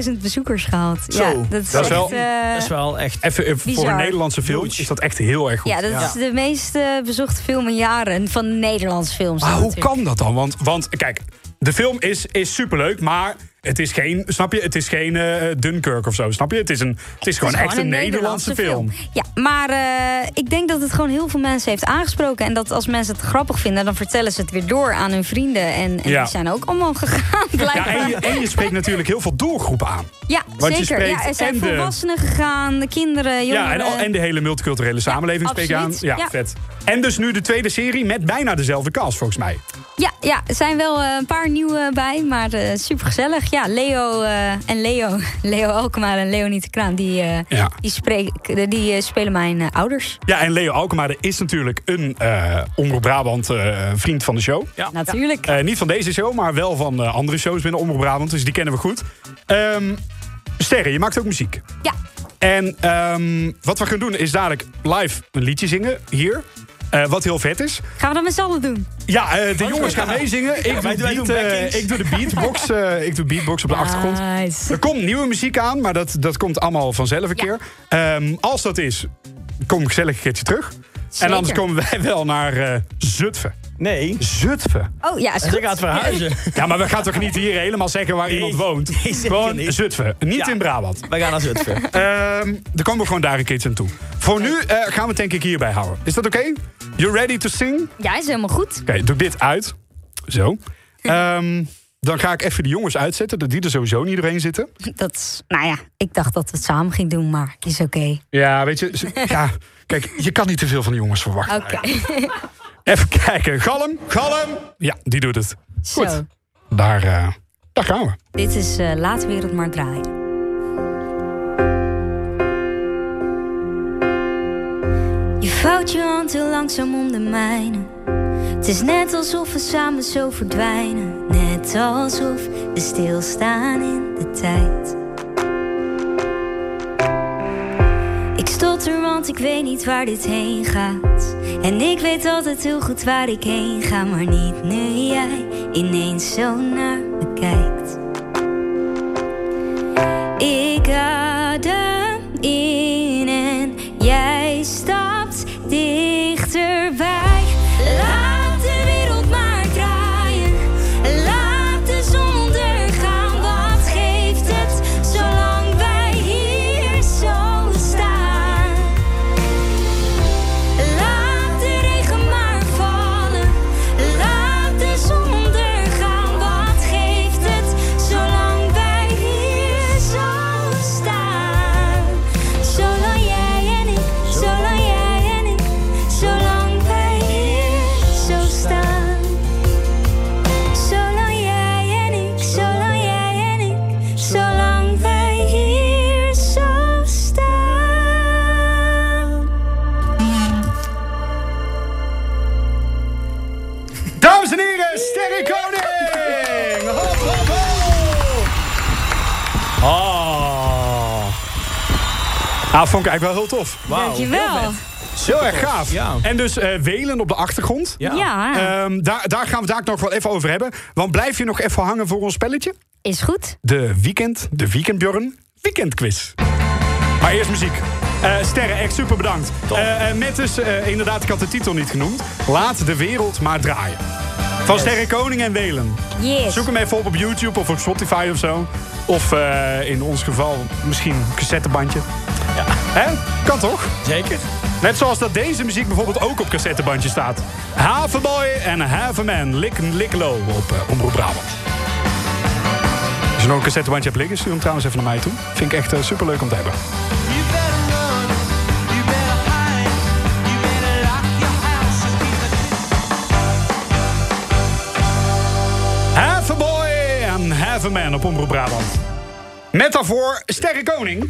700.000 bezoekers gehaald. Ja, dat is, echt, wel, eh, echt... Even, eh, voor bizar. een Nederlandse film is dat echt heel erg goed. Ja, dat is de meest eh, bezochte film in jaren van Nederlands films. Maar Ah, hoe natuurlijk. kan dat dan? Want, want kijk, de film is, is superleuk, maar het is geen, snap je, het is geen eh, Dunkirk of zo, snap je? Het is, een, het is gewoon Het is echt een Nederlandse, film. Ja, maar eh, ik denk dat het gewoon heel veel mensen heeft aangesproken. En dat als mensen het grappig vinden, dan vertellen ze het weer door aan hun vrienden. En, en Ja. die zijn ook allemaal gegaan, (laughs) Ja, blijkbaar. en, je, en je spreekt natuurlijk heel veel doelgroepen aan. Ja, Want je zeker. spreekt Ja, er zijn en de- volwassenen gegaan, de kinderen, jongeren. Ja, en, al- en de hele multiculturele samenleving spreek je aan. absoluut. eh, Ja, Ja. vet. En dus nu de tweede serie met bijna dezelfde cast, volgens mij. Ja, ja, er zijn wel eh, een paar nieuwe bij, maar eh supergezellig. Ja, Leo eh, en Leo, (laughs) Leo Alkmaar en Leonie de Kraan, die, eh, Ja. die, spreken- die eh, spelen mijn eh, ouders. Ja, en Leo Alkemade is natuurlijk een eh Omroep Brabant eh, vriend van de show. Ja. Natuurlijk. Eh, niet van deze show, maar wel van eh, andere shows binnen Omroep Brabant. Dus die kennen we goed. Ehm, Sterren, je maakt ook muziek. Ja. En ehm, wat we gaan doen is dadelijk live een liedje zingen hier. Eh, wat heel vet is. Gaan we dat met z'n allen doen? Ja, eh, de jongens gaan meezingen. Ik, Ja, doe, wij- wij beat, doen eh, backings. ik doe de beatbox. eh, ik doe beatbox op de achtergrond. Er komt nieuwe muziek aan, maar dat, dat komt allemaal vanzelf een keer. Ehm, als dat is, kom ik gezellig een keertje terug. En Zeker. anders komen wij wel naar eh, Zutphen. Nee. Zutphen. Oh ja, is goed. (laughs) Ja, maar we gaan toch niet hier helemaal zeggen waar iemand woont? Gewoon Zutphen. Niet Ja. in Brabant. Wij gaan naar Zutphen. Ehm dan komen we gewoon daar een keertje aan toe. Voor nu eh, gaan we het denk ik hierbij houden. Is dat oké? You ready to sing? Oké, Ja, is helemaal goed. doe dit uit. Zo. Ehm, dan ga ik even de jongens uitzetten, dat die er sowieso niet doorheen zitten. (laughs) Dat is, nou ja, ik dacht dat we het samen gingen doen, maar is oké. Ja, weet je. (laughs) ze- Ja, kijk, je kan niet te veel van de jongens verwachten. Nou Oké. Even kijken. Galm, galm. Ja, die doet het. Zo, Daar, eh, daar gaan we. dit is eh Laat de Wereld Maar Draaien. Je vouwt je hand heel langzaam om de mijne. Het is net alsof we samen zo verdwijnen. Net alsof we stilstaan in de tijd. Ik stotter, want ik weet niet waar dit heen gaat. En ik weet altijd heel goed waar ik heen ga, maar niet nu jij ineens zo naar me kijkt. Ik adem in en jij stapt dichterbij. Laat de wereld maar draaien, laat de zon ondergaan. Wat geeft het, zolang wij hier zo staan? Laat de regen maar vallen, laat de zon ondergaan. Wat geeft het, zolang wij hier zo staan? Zolang jij en ik, zolang jij en ik, zolang wij hier zo staan. Zolang jij en ik, zolang jij en ik, zolang wij hier zo staan. Dames en heren, Sterrenkoning! Hop, hop, hop! Ah. Ah, vond ik eigenlijk wel heel tof. Wauw, Dankjewel. heel Heel erg gaaf. Ja. En dus eh, Welen op de achtergrond. Oh. Ja. Ja. Ehm, daar, daar gaan we het nog wel even over hebben. Want blijf je nog even hangen voor ons spelletje? Is goed. De weekend, de weekendbjorn, weekendquiz. Maar eerst muziek. Eh, Sterren, echt super bedankt. Eh, eh, net is, eh, inderdaad, ik had de titel niet genoemd. Laat de wereld maar draaien. Van Sterren Koning en Welen. Yes. Zoek hem even op op YouTube of op Spotify of zo. Of eh, in ons geval misschien een cassettebandje. Ja. Hè? Kan toch? (laughs) Zeker. Net zoals dat deze muziek bijvoorbeeld ook op cassettebandje staat. Have a boy en have a man. Lick, lick low op eh, Omroep Brabant. Als je nog een cassettebandje hebt liggen, stuur hem trouwens even naar mij toe. Vind ik echt super superleuk om te hebben. Have a boy en have a man op Omroep Brabant. Met daarvoor Sterre Koning.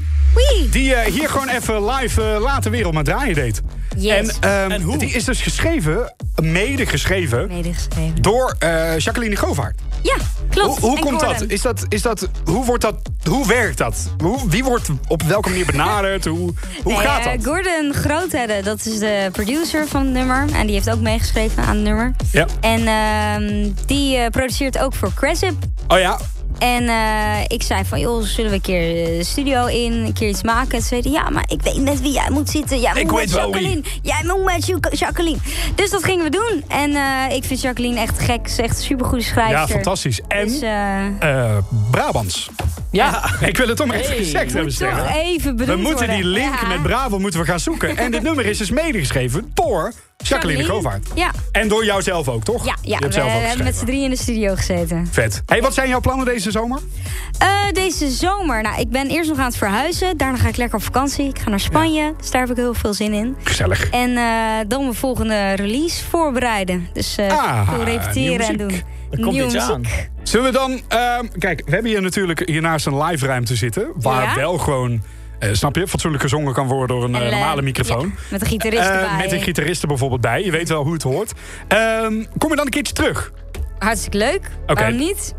Die eh, hier gewoon even live eh, later weer op mijn draaien deed. Yes. En, ehm, die is dus geschreven, mede geschreven, Medegeschreven. door eh, Jacqueline Govaert. Ja, klopt. Hoe, hoe En komt dat? Gordon. Is dat, is dat? Hoe wordt dat? Hoe werkt dat? Hoe, wie wordt op welke manier benaderd? Hoe, hoe Nee, gaat eh, dat? Gordon Groothedde, dat is de producer van het nummer. En die heeft ook meegeschreven aan het nummer. Ja. En ehm, die eh, produceert ook voor Cresip. Oh ja. En eh, ik zei van, joh, zullen we een keer eh, de studio in, een keer iets maken? Ze zeiden, ja, maar ik weet met wie jij moet zitten. Jij Ik moet weet met wel wie. Jacqueline. Jij moet met Jo- Jacqueline. Dus dat gingen we doen. En eh, ik vind Jacqueline echt gek. Ze is echt een supergoede schrijver. Ja, fantastisch. En Dus, eh, eh, Brabants. (laughs) Ja. Ik wil het toch maar even Hey. gezegd hebben. Moet toch Sterre. even we benoemd moeten die worden. link Ja. met Brabant moeten we gaan zoeken. En dit nummer is dus medegeschreven door Jacqueline Govaert. Ja. En door jouzelf ook, toch? Ja, Je ja hebt we zelf ook hebben met z'n geschreven. drie in de studio gezeten. Vet. Hey, wat zijn jouw plannen deze zomer? Eh, deze zomer. Nou, ik ben eerst nog aan het verhuizen. Daarna ga ik lekker op vakantie. Ik ga naar Spanje. Dus daar heb ik heel veel zin in. Gezellig. En eh, dan mijn volgende release voorbereiden. Dus eh Ah, veel repeteren en nieuwe doen. muziek. Nieuwe muziek. Zullen we dan... ehm, kijk, we hebben hier natuurlijk hiernaast een live ruimte zitten. Waar Ja. wel gewoon, eh, snap je, fatsoenlijk gezongen kan worden door een eh, En, eh, normale microfoon. ja, met een gitarist Eh, erbij. Met een gitarist er bijvoorbeeld bij. Je weet wel hoe het hoort. Ehm, kom je dan een keertje terug? Hartstikke leuk. Oké. Waarom niet?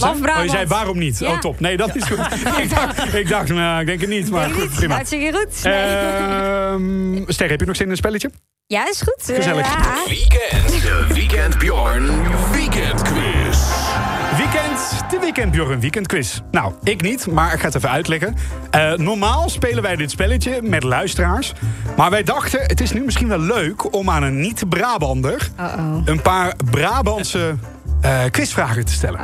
Laf zei- oh, je Brabant. zei waarom niet? Ja. Oh, top. Nee, dat is (laughs) goed. (laughs) ik dacht, ik dacht nou, ik denk het niet, maar goed, prima. Eh, Hartstikke goed. Nee. Ehm, Ster, heb je nog zin in een spelletje? ja, is goed. Eh, Gezellig. ja. Weekend, de Weekend Bjorn Weekend Quiz. Weekend, de Weekend Bjorn Weekend Quiz. Nou, ik niet, maar ik ga het even uitleggen. Eh, normaal spelen wij dit spelletje met luisteraars. Maar wij dachten, het is nu misschien wel leuk om aan een niet-Brabander... een paar Brabantse eh, quizvragen te stellen.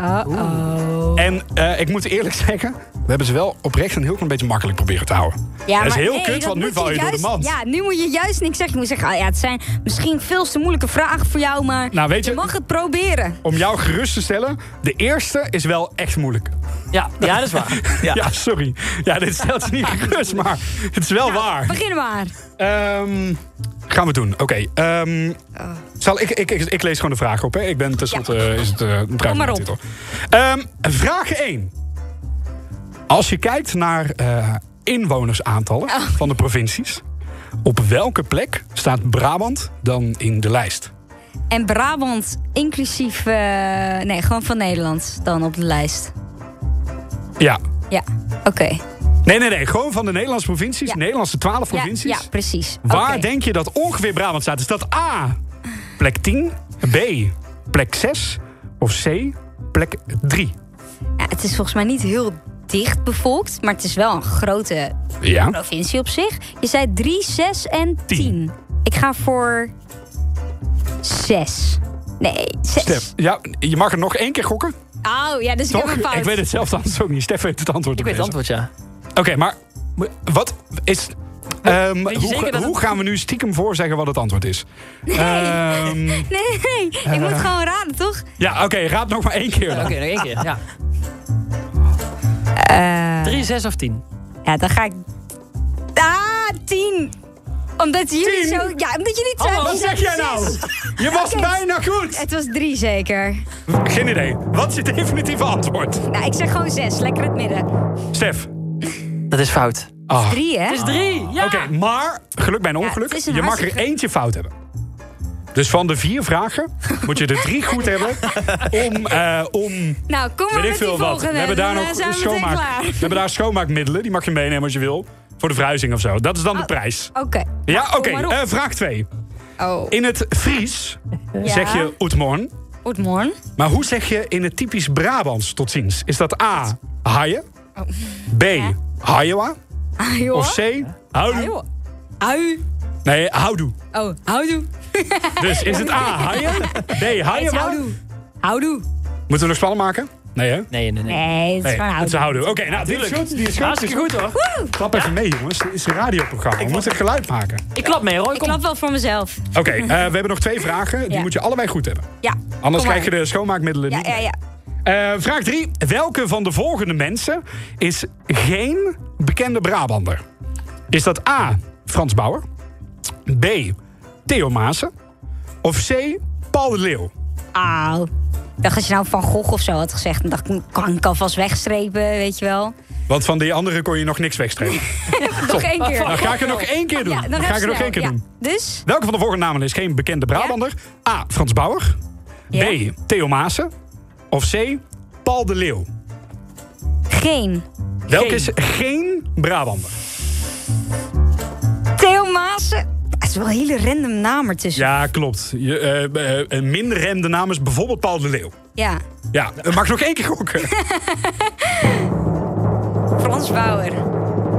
En eh, ik moet eerlijk zeggen, we hebben ze wel oprecht een heel klein beetje makkelijk proberen te houden. Ja, dat is maar heel nee, kut, dat want nu moet val je door de juist- mand. Ja, nu moet je juist niks zeggen. Je moet zeggen, ah, ja, het zijn misschien veel te moeilijke vragen voor jou, maar Nou, weet je- mag het proberen. Om jou gerust te stellen, de eerste is wel echt moeilijk. Ja, ja dat is waar. (laughs) Ja, sorry. Ja, dit stelt (laughs) ze niet gerust, maar het is wel waar. Begin maar. Ehm, gaan we doen. Oké. ehm, Oh. zal ik, ik, ik, ik lees gewoon de vraag op. Hè? Ik ben tenslotte eh, is het, eh een Kom maar op. titel. Ehm, vraag 1. Als je kijkt naar eh, inwonersaantallen Oh. van de provincies... op welke plek staat Brabant dan in de lijst? En Brabant inclusief... eh, nee, gewoon van Nederland dan op de lijst. Ja. Ja, oké. Nee, nee, nee. Gewoon van de Nederlandse provincies. Nederlandse 12 Ja, provincies. ja, precies. Waar denk je dat ongeveer Brabant staat? Is dat A, plek 10, B, plek 6 of C, plek 3? Ja, het is volgens mij niet heel dicht bevolkt, maar het is wel een grote Ja. provincie op zich. Je zei 3, 6 en 10. Ik ga voor 6. Nee, 6. Stef, ja, je mag er nog één keer gokken. Oh, ja, dus ik heb Toch? een fout. Ik weet het zelf anders ook niet. Stef weet het antwoord. Ik weet het ja. Oké, maar wat is... ehm, hoe zeker ga- dat het- hoe gaan we nu stiekem voorzeggen wat het antwoord is? Ehm, Nee, nee, ik moet Eh. gewoon raden, toch? ja, oké, raad nog maar één keer dan. Oké, nog één keer. Ja. 3, 6 of 10? Ja, dan ga ik... Ah, 10. Omdat jullie zo... Ja, omdat jullie het Hallo, zijn. wat zeg jij nou? Je was bijna goed. Het was 3 zeker. Geen idee. Wat is het definitieve antwoord? Nou, ik zeg gewoon 6. Lekker het midden. Stef. Dat is fout. Ah. 3, hè? Het is 3. Ja. Oké, maar geluk bij een Ja, ongeluk. het is je een mag er hartstikke- eentje fout hebben. Dus van de vier vragen moet je er drie goed hebben om, eh, om Nou, kom maar met weet ik die veel wat. volgende. We hebben daar dan, nog eh, zijn we meteen schoonmaak, klaar. we hebben daar schoonmaakmiddelen. Die mag je meenemen als je wil. Voor de verhuizing of zo. Dat is dan de prijs. Oké. Ja, oké. Oh. kom maar op. eh, vraag 2. Oh. In het Fries Ja. zeg je Oetmorn. Goedemorgen. Maar hoe zeg je in het typisch Brabants tot ziens? Is dat A, haaien? Oh. B, haaiewa? Ah, joh. Of C, houdoe? joh. Ui. Nee, houdoe. Oh, houdoe. Dus is (laughs) het A, haaien? B, Het is haaiewa? houdoe. Houdoe. Moeten we nog spannend maken? Nee, hè? Nee, nee, Nee, het is Nee, gewoon het is houdoe. houdoe. Oké, nou, die is goed. Die is goed. Dus Hartstikke goed, hoor. Woe! Klap even mee, jongens. Dit is een radioprogramma. We moeten geluid maken. Ik klap mee, hoor. Ik klap wel voor mezelf. Oké, eh, we hebben nog twee vragen. Die Ja. moet je allebei goed hebben. Ja. Anders kom maar. krijg je de schoonmaakmiddelen Ja, niet. ja, ja. Eh, vraag 3. Welke van de volgende mensen is geen bekende Brabander? Is dat A. Frans Bauer? B. Theo Maassen? Of C. Paul de Leeuw? Auw. Ik dacht, als je nou Van Gogh of zo had gezegd... dan dacht ik, kan ik alvast wegstrepen, weet je wel. Want van die andere kon je nog niks wegstrepen. nog één keer. Dan Nou, ga ik er nog één keer doen. Ja, dan dan ga even ik er nog snel, één keer ja. doen. Dus? Welke van de volgende namen is geen bekende Brabander? A. Frans Bauer. B. Theo Maassen. Of C. Paul de Leeuw. Geen. Welke is geen Brabander? Theo Maassen. Het is wel een hele random naam ertussen. Ja, klopt. Je, eh, eh, een minder remde naam is bijvoorbeeld Paul de Leeuw. Ja. Ja, eh, mag ik nog één keer gokken? Frans Bauer.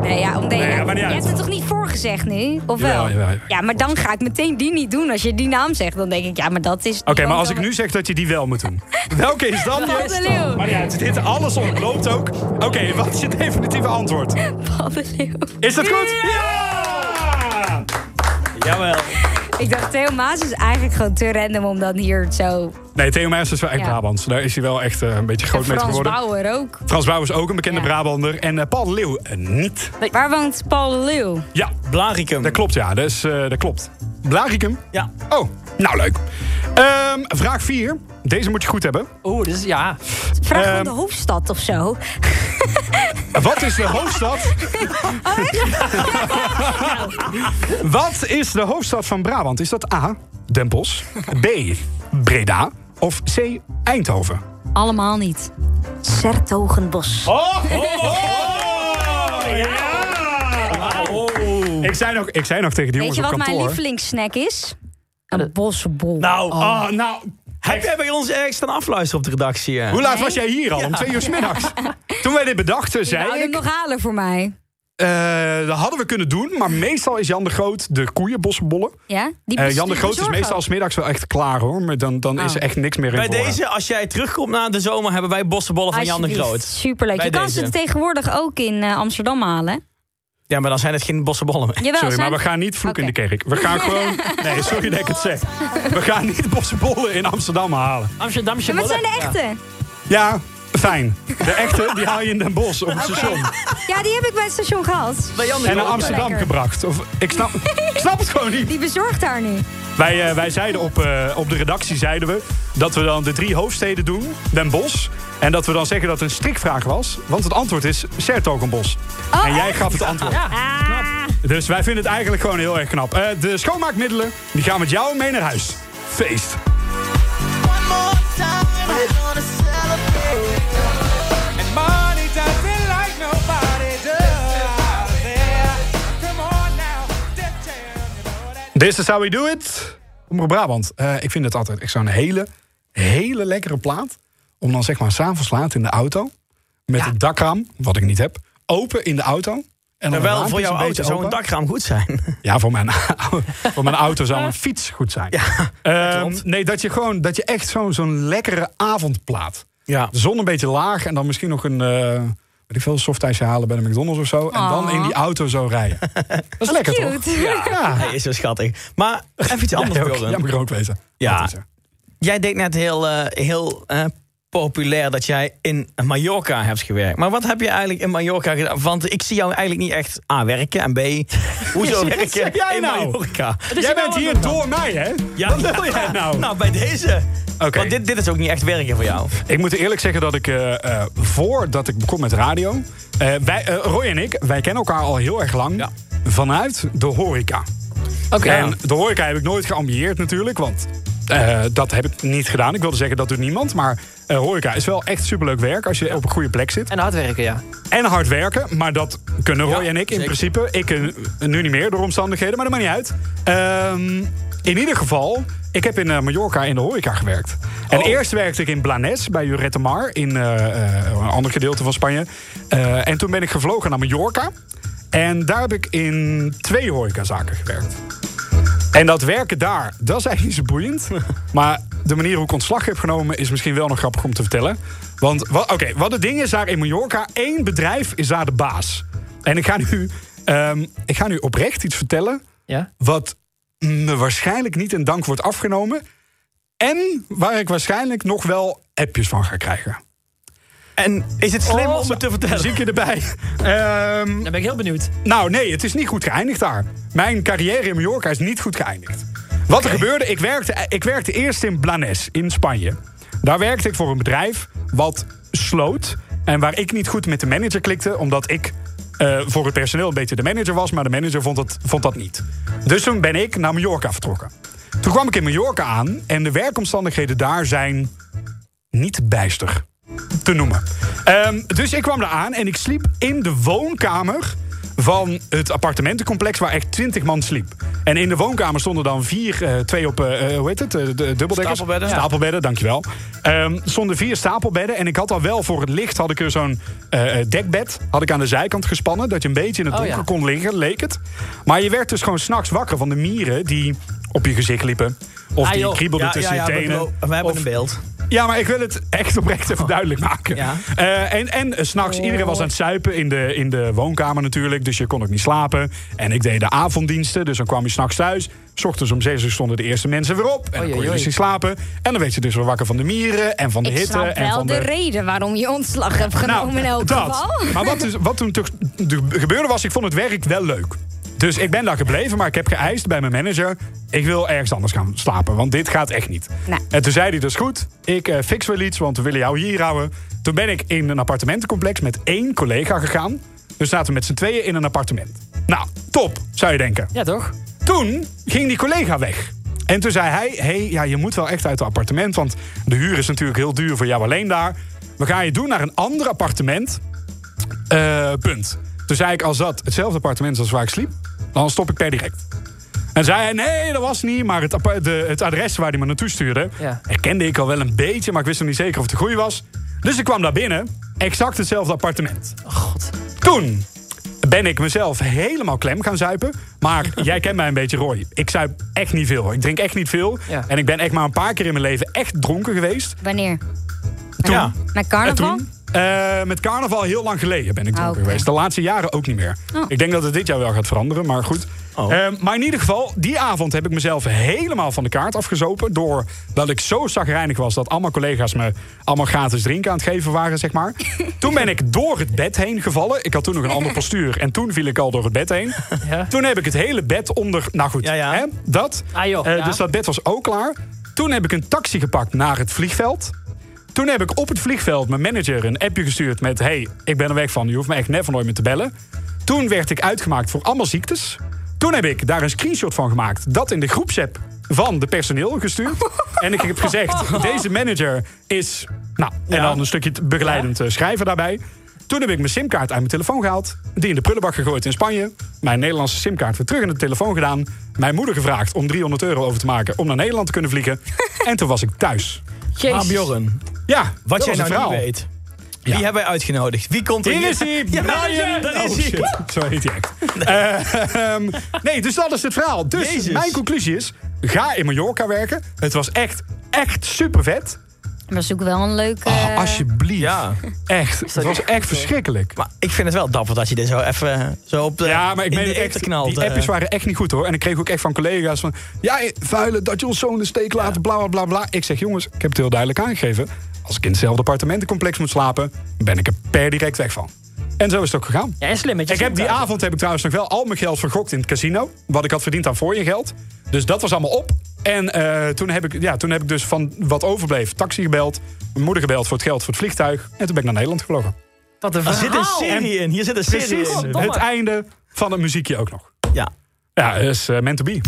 Nee, ja, om de, Nee, ja, maar niet je uit. hebt het toch niet voorgezegd nu? Of wel? Jawel, jawel, jawel. Ja, maar dan ga ik meteen die niet doen. Als je die naam zegt, dan denk ik, ja, maar dat is... Oké, (laughs) maar als ik nu zeg dat je die wel moet doen. Welke is dan? Paul de Leeuw. Maar ja, dit alles ontloopt ook. Oké, wat is je definitieve antwoord? Paul de Leeuw. Is dat goed? Ja! Jawel. Ik dacht, Theo Maas is eigenlijk gewoon te random om dan hier zo... Nee, Theo Meijers is wel echt Ja. Brabants. Daar is hij wel echt eh, een beetje groot mee Frans geworden. Bauer ook. Frans Bouw is ook een bekende Brabander. En eh, Paul de Leeuw eh, niet. Waar woont Paul de Leeuw? Ja. Blaricum. Dat klopt, ja. Dat, is, eh, dat klopt. Blaricum? Ja. Oh, nou leuk. Ehm, vraag 4. Deze moet je goed hebben. Oeh, dus ja. Vraag Ehm, van de hoofdstad of zo. Wat is (laughs) de Oh, hoofdstad? (laughs) Wat is de hoofdstad van Brabant? Is dat A. Den Bosch, B. Breda of C. Eindhoven? Allemaal niet. Sertogenbos. Oh, ja! Oh. Ik, zei nog, ik zei nog tegen die Weet jongens je op wat mijn kantoor... lievelingssnack is? Een bossenbol. Nou, Oh. ah, nou. Heb jij bij ons ergens staan afluisteren op de redactie? eh? Hoe laat was jij hier al? Om twee uur 's (laughs) middags. Toen wij dit bedachten, zei Zou je hem ik... nog halen voor mij? eh, dat hadden we kunnen doen, maar meestal is Jan de Groot de koeienbossenbollen. Ja? Die Eh, Jan de bestuurt Groot is zorg meestal ook. 's middags wel echt klaar hoor. Maar dan, dan Ah. is er echt niks meer in Bij voorraad. deze, als jij terugkomt na de zomer, hebben wij bossenbollen van Jan de Alsjeblieft. Groot. Superleuk. Bij je kan deze. ze tegenwoordig ook in eh, Amsterdam halen. hè? Ja, maar dan zijn het geen bossenbollen meer. Jawel, Sorry, Nou, zijn- maar we gaan niet vloeken in de kerk. We gaan (laughs) gewoon... Nee, sorry dat ik het zeg. We gaan niet bossenbollen in Amsterdam halen. Amsterdamse Ja, maar het zijn bollen. de echte. Ja, fijn. De echte, die haal je in Den Bosch op het station. Ja, die heb ik bij het station gehad. En naar Amsterdam Lekker. gebracht. Of, ik, (laughs) snap, ik snap het gewoon niet. Die bezorgt daar nu. Wij, eh, wij zeiden op, eh, op de redactie zeiden we dat we dan de drie hoofdsteden doen, Den Bosch. En dat we dan zeggen dat het een strikvraag was, want het antwoord is Sertogenbos. en jij gaf het antwoord. Dus wij vinden het eigenlijk gewoon heel erg knap. Eh, de schoonmaakmiddelen, die gaan met jou mee naar huis. Feest. And money doesn't like nobody does. Yeah. Come on now, just tell me. This is how we do it. Omroep Brabant. Eh, ik vind het altijd echt zo'n hele, hele lekkere plaat. Om dan zeg maar s'avonds laat in de auto. Met het dakraam, wat ik niet heb. Open in de auto. En dan En een wel raampje voor jouw een beetje auto zou een open. dakraam goed zijn. Ja, voor mijn, (laughs) voor mijn auto zou een fiets goed zijn. (laughs) Ehm, nee, dat je gewoon dat je echt zo'n zo'n lekkere avondplaat. Ja. De zon een beetje laag en dan misschien nog een. eh weet ik veel, softijsje halen bij de McDonald's of zo. En dan Aw. in die auto zo (laughs) rijden. Dat is lekker toch? Cute. Ja, hij is zo schattig. Maar even iets anders, Jij ook. (laughs) Bjorn. Ja, moet ik er ook wezen. Ja. Jij deed net heel, eh, heel eh, populair dat jij in Mallorca hebt gewerkt. Maar wat heb je eigenlijk in Mallorca gedaan? Want ik zie jou eigenlijk niet echt A, werken (laughs) en B, hoezo Wat werken zeg jij in nou? Mallorca? is Jij bent wel hier een- door mij, hè? Wat wil jij nou? (laughs) Nou, bij deze. Want dit, dit is ook niet echt werken voor jou. Ik moet eerlijk zeggen dat ik eh, eh, voordat ik begon met radio. eh, wij, eh, Roy en ik, wij kennen elkaar al heel erg lang. Vanuit de horeca. Oké. En de horeca heb ik nooit geambieerd natuurlijk, want eh, dat heb ik niet gedaan. Ik wilde zeggen, dat doet niemand. Maar eh, horeca is wel echt superleuk werk als je op een goede plek zit. En hard werken, ja. En hard werken, maar dat kunnen Roy en ik in zeker. principe. Ik eh, nu niet meer door omstandigheden, maar dat maakt niet uit. Ehm, in ieder geval, ik heb in eh, Mallorca in de horeca gewerkt. Oh. En eerst werkte ik in Blanes bij Jurette Mar in eh, eh, een ander gedeelte van Spanje. Eh, en toen ben ik gevlogen naar Mallorca. En daar heb ik in twee horecazaken gewerkt. En dat werken daar, dat is eigenlijk niet zo boeiend. Maar de manier hoe ik ontslag heb genomen is misschien wel nog grappig om te vertellen. Want wa- oké, wat het ding is daar in Mallorca, één bedrijf is daar de baas. En ik ga nu, ehm, ik ga nu oprecht iets vertellen Ja? wat me waarschijnlijk niet in dank wordt afgenomen. En waar ik waarschijnlijk nog wel appjes van ga krijgen. En is het slim om het te vertellen? Muziekje erbij. Ehm, Dan ben ik heel benieuwd. Nou nee, het is niet goed geëindigd daar. Mijn carrière in Mallorca is niet goed geëindigd. Wat er gebeurde, ik werkte, eh, ik werkte eerst in Blanes, in Spanje. Daar werkte ik voor een bedrijf wat sloot... en waar ik niet goed met de manager klikte... omdat ik eh, voor het personeel een beetje de manager was... maar de manager vond dat, vond dat niet. Dus toen ben ik naar Mallorca vertrokken. Toen kwam ik in Mallorca aan... en de werkomstandigheden daar zijn niet bijster te noemen. Ehm, dus ik kwam daar aan en ik sliep in de woonkamer van het appartementencomplex waar echt 20 man sliep. En in de woonkamer stonden dan vier, eh, twee op, eh, eh, hoe heet het, eh, de- de dubbeldekkers? Stapelbedden. Stapelbedden, dankjewel. Ehm stonden vier stapelbedden en ik had al wel voor het licht, had ik er zo'n eh, eh, dekbed, had ik aan de zijkant gespannen, dat je een beetje in het Oh, donker ja. kon liggen, leek het. Maar je werd dus gewoon s'nachts wakker van de mieren die op je gezicht liepen. Of Ah, die joh. kriebelden Ja, tussen ja, ja, je we tenen. hebben- we hebben Of- een beeld. ja, maar ik wil het echt oprecht Oh. even duidelijk maken. Eh, en en eh, s'nachts, iedereen was aan het zuipen in de, in de woonkamer natuurlijk. Dus je kon ook niet slapen. En ik deed de avonddiensten, dus dan kwam je s'nachts thuis. S ochtends om zes uur stonden de eerste mensen weer op. En dan Oei, kon je oei, dus oei. niet slapen. En dan werd je dus weer wakker van de mieren en van de ik hitte. snap en wel van de... reden waarom je ontslag hebt genomen in elk Nou, dat. geval. Maar wat, dus, wat toen toch de- gebeurde was, ik vond het werk wel leuk. Dus ik ben daar gebleven, maar ik heb geëist bij mijn manager... ik wil ergens anders gaan slapen, want dit gaat echt niet. Nou. En toen zei hij, dus goed, ik eh, fix wel iets, want we willen jou hier houden. Toen ben ik in een appartementencomplex met één collega gegaan. Dus zaten we met z'n tweeën in een appartement. Nou, top, zou je denken. Ja, toch? Toen ging die collega weg. En toen zei hij, hey, ja, je moet wel echt uit het appartement... want de huur is natuurlijk heel duur voor jou alleen daar. We gaan je doen naar een ander appartement... Eh, punt. Toen zei ik, als dat hetzelfde appartement is als waar ik sliep... dan stop ik per direct. En zei hij, nee, dat was niet. Maar het, appa- de, het adres waar hij me naartoe stuurde... herkende ik al wel een beetje, maar ik wist nog niet zeker of het de goede was. Dus ik kwam daar binnen, exact hetzelfde appartement. God. Toen ben ik mezelf helemaal klem gaan zuipen. Maar jij kent mij een beetje, Roy. Ik zuip echt niet veel. Ik drink echt niet veel. Ja. En ik ben echt maar een paar keer in mijn leven echt dronken geweest. Wanneer? Toen. Met carnaval? Ah, En toen, eh, met carnaval heel lang geleden ben ik dronken geweest. De laatste jaren ook niet meer. Oh. Ik denk dat het dit jaar wel gaat veranderen, maar goed. Eh, maar in ieder geval, die avond heb ik mezelf helemaal van de kaart afgezopen... doordat ik zo zagrijnig was dat allemaal collega's me allemaal gratis drinken aan het geven waren, zeg (laughs) maar. Toen ben ik door het bed heen gevallen. Ik had toen nog een ander postuur en toen viel ik al door het bed (laughs) heen. Toen heb ik het hele bed onder... Nou goed, Hè, dat. Eh, Ah, ja. Dus dat bed was ook klaar. Toen heb ik een taxi gepakt naar het vliegveld. Toen heb ik op het vliegveld mijn manager een appje gestuurd met... hey, ik ben er weg van, je hoeft me echt never nooit meer te bellen. Toen werd ik uitgemaakt voor allemaal ziektes. Toen heb ik daar een screenshot van gemaakt. Dat in de groepsapp van de personeel (laughs) gestuurd. en ik heb gezegd, deze manager is... Nou, en dan een stukje t- begeleidend eh, schrijven daarbij. Toen heb ik mijn simkaart uit mijn telefoon gehaald. Die in de prullenbak gegooid in Spanje. Mijn Nederlandse simkaart weer terug in de telefoon gedaan. Mijn moeder gevraagd om 300 euro over te maken... om naar Nederland te kunnen (laughs) vliegen. en toen was ik thuis. Maar ah, Bjorn, Ja, wat dat jij was nou het verhaal. niet weet. Wie hebben wij uitgenodigd? Wie komt er Hier is hij, Ja, Brian. daar is Oh, hij. shit. Zo heet hij echt. (laughs) Eh, ehm, nee, dus dat is het verhaal. Dus Jezus. mijn conclusie is, ga in Mallorca werken. Het was echt, echt super vet. Ah, Maar zoek wel een leuk... Oh, eh, Alsjeblieft. Ja. Echt. Het was echt eh, verschrikkelijk. Maar ik vind het wel dapper dat je dit zo even eh, zo op de Ja, maar ik in meen de het eten echt, knalt. die eh. appjes waren echt niet goed hoor. En ik kreeg ook echt van collega's van... Ja, vuile, dat je ons zo in de steek laat, bla bla bla bla. Ik zeg, jongens, ik heb het heel duidelijk aangegeven. Als ik in hetzelfde appartementencomplex moet slapen... ben ik er per direct weg van. En zo is het ook gegaan. Ja, en slim met je Ik heb die simkaart. avond heb ik trouwens nog wel al mijn geld vergokt in het casino. Wat ik had verdiend aan voor je geld. Dus dat was allemaal op. En eh, toen, heb ik, ja, toen heb ik dus van wat overbleef taxi gebeld. Mijn moeder gebeld voor het geld voor het vliegtuig. En toen ben ik naar Nederland gevlogen. Wat een Er zit een verhaal. serie in. Hier zit een serie Precies. in. Het einde van het muziekje ook nog. Ja. Ja, dat is eh meant to be.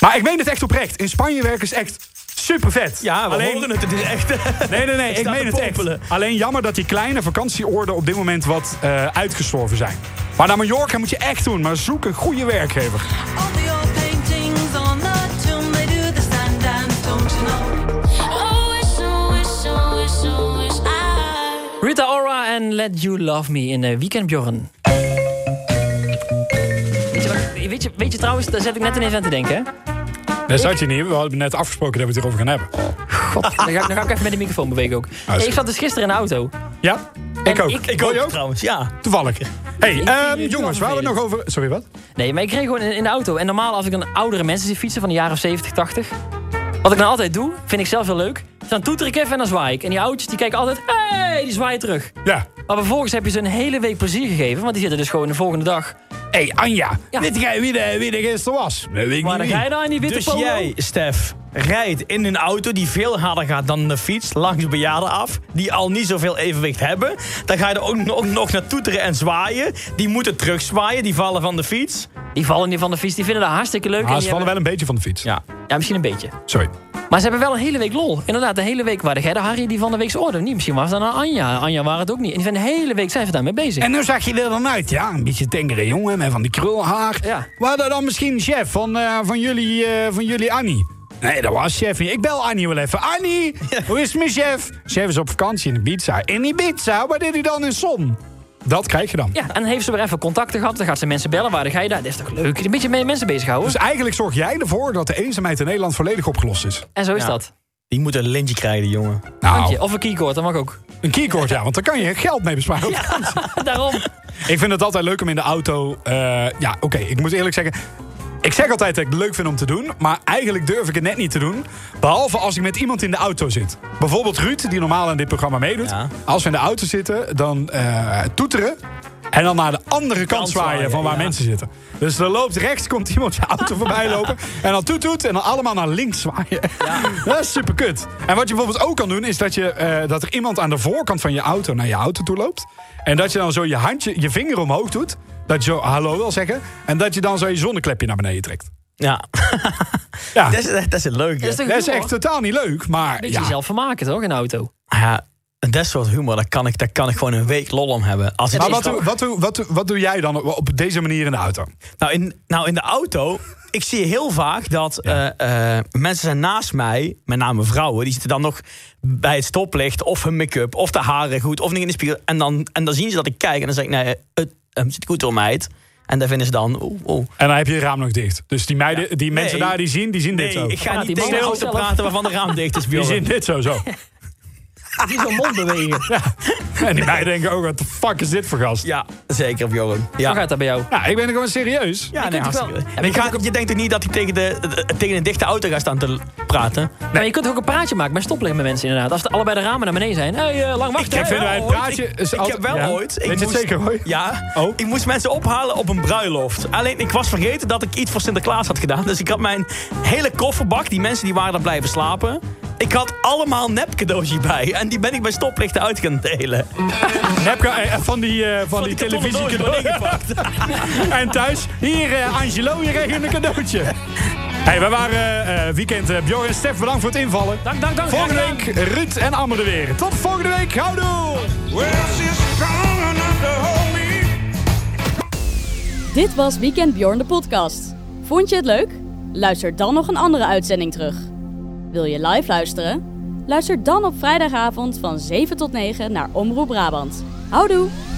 Maar ik meen het echt oprecht. In Spanje werken is echt super vet. Ja, we hoorden het. Het is echt... Nee, nee, nee. ik Het staat meen te het echt. popelen. Alleen jammer dat die kleine vakantieoorden op dit moment wat eh, uitgestorven zijn. Maar naar Mallorca moet je echt doen. Maar zoek een goede werkgever. All the old paintings on the tomb, they do the sand dance, don't you know? Oh, wish, oh, wish, oh, wish, oh, wish I Rita Ora en Let You Love Me in eh, Weekend Bjorn. Weet je, wat- weet, je, weet je trouwens, daar zet ik net ineens aan te denken. Dat zat je niet. We hadden net afgesproken dat we het hierover gaan hebben. God, dan, ga, ik- dan ga ik even met de microfoon bewegen ook. Hey, ik zat dus gisteren in de auto. Ja, ik ook. Ik ook trouwens, ja. Toevallig. hey, Ik vind ehm, het heel jongens, waar we het nog over... Sorry, wat? Nee, maar ik kreeg gewoon in, in de auto. En normaal als ik dan oudere mensen zie fietsen van de jaren 70, 80. Wat ik nou altijd doe, vind ik zelf heel leuk. Zet dan toeter ik even en dan zwaai ik. En die oudjes die kijken altijd, hé, hey, die zwaaien terug. Ja. Maar vervolgens heb je ze een hele week plezier gegeven, want die zitten dus gewoon de volgende dag. Hé, hey, Anja, weet jij wie de, wie de gisteren was? Maar dan ga je daar in die witte dus polo? jij, Stef, rijdt in een auto die veel harder gaat dan een fiets... langs bejaarden af, die al niet zoveel evenwicht hebben. Dan ga je er ook nog, nog naar toeteren en zwaaien. Die moeten terugzwaaien, die vallen van de fiets. Die vallen niet van de fiets, die vinden dat hartstikke leuk. Ah, ze vallen wel een beetje van de fiets. Ja. Ja, misschien een beetje. Sorry. Maar ze hebben wel een hele week lol. Inderdaad, de hele week waren jij de Harry die van de week orde. Niet misschien was dat aan Anja. Anja waren het ook niet. En die zijn de hele week zijn we daarmee bezig. En nu zag je er dan uit, ja. Een beetje tengere jongen met van die krulhaar. Ja. Waar dat dan misschien chef van, eh, van, jullie, eh, van jullie Annie? Nee, dat was chef niet. Ik bel Annie wel even. Annie, hoe is het met chef? Chef is op vakantie in Ibiza. In Ibiza? Waar deed hij dan in som? Dat krijg je dan. Ja, en dan heeft ze weer even contacten gehad. Dan gaat ze mensen bellen. Waar dan ga je daar? Dat is toch leuk? Een beetje met mensen bezighouden. Dus eigenlijk zorg jij ervoor dat de eenzaamheid in Nederland volledig opgelost is. En zo is Ja. dat. Die moeten een lintje krijgen, jongen. Handje. Of een keycord, dat mag ook. Een keycord, ja, want daar kan je geld mee besparen. Daarom. Ik vind het altijd leuk om in de auto... eh, ja, oké, ik moet eerlijk zeggen... Ik zeg altijd dat ik het leuk vind om te doen, maar eigenlijk durf ik het net niet te doen. Behalve als ik met iemand in de auto zit. Bijvoorbeeld Ruud, die normaal aan dit programma meedoet. Als we in de auto zitten, dan eh, toeteren. En dan naar de andere kant, zwaaien zwaaien, van waar ja. mensen zitten. Dus er loopt rechts, komt iemand je (laughs) auto voorbij lopen. En dan toet toet en dan allemaal naar links zwaaien. (laughs) Dat is super kut. En wat je bijvoorbeeld ook kan doen, is dat, je, eh, dat er iemand aan de voorkant van je auto naar je auto toe loopt. En dat je dan zo je handje, je vinger omhoog doet. Dat je zo hallo wil zeggen. En dat je dan zo je zonneklepje naar beneden trekt. Ja. ja. (laughs) Dat, is, dat is een leuke. Dat is toch humor? echt totaal niet leuk, maar... Beetje jezelf vermaken toch, in de auto? Ah Ja, dat soort humor, daar kan ik, daar kan ik gewoon een week lol om hebben. Als het Maar is wat, dan- doe- wat, doe- wat, doe- wat doe jij dan op- op deze manier in de auto? Nou, in, nou, in de auto, ik zie heel vaak dat eh, eh, mensen zijn naast mij, met name vrouwen, die zitten dan nog bij het stoplicht of hun make-up of de haren goed of niet in de spiegel. En dan, en dan zien ze dat ik kijk en dan zeg ik, nee, het eh, zit goed door meid. En daar vinden ze dan, oeh, oeh. En dan heb je het raam nog dicht. Dus die, meiden, die mensen Nee. daar die zien, die zien dit Nee, zo. ik ga Ja, niet die tegen mannen de auto zelf. praten waarvan de raam dicht is, Die Bjorn. zien dit zo (laughs) zo. Die zo'n mond (laughs) bewegen. En die meiden denken ook, wat de fuck is dit voor gast? Ja, zeker, Bjorn. Ja. Hoe gaat dat bij jou? Ja, ik ben gewoon serieus. Ja, nee, kunt het wel. hartstikke. En ik ga, je denkt toch niet dat hij tegen, de, de- tegen een dichte auto gaat staan te l- praten? Maar je kunt ook een praatje maken bij stoplicht met mensen inderdaad. Als de, allebei de ramen naar beneden zijn. Hé, hey, eh, lang wachten. Ik heb hè? vinden wij het Oh, praatje... Ik, is ik altijd- heb wel ja? ooit. Ik Weet je het moest- zeker hoor? Oh. Ja, ik moest mensen ophalen op een bruiloft. Alleen ik was vergeten dat ik iets voor Sinterklaas had gedaan. Dus ik had mijn hele kofferbak, die mensen die waren daar blijven slapen. Ik had allemaal nep cadeautjes bij. En die ben ik bij stoplichten uit gaan delen. Heb je, eh, van die, eh, van die, kartonnen televisie doos cadeau. worden ingepakt. en thuis, hier eh, Angelo, je kreeg een cadeautje. hey, we waren eh, eh, weekend. eh, Bjorn en Stef, bedankt voor het invallen. Dank, dank, dank. Volgende Graag week Ruud en Ammer er weer. Tot volgende week. Houdoe! Dit was Weekend Bjorn de podcast. Vond je het leuk? Luister dan nog een andere uitzending terug. Wil je live luisteren? Luister dan op vrijdagavond van 7 tot 9 naar Omroep Brabant. Houdoe!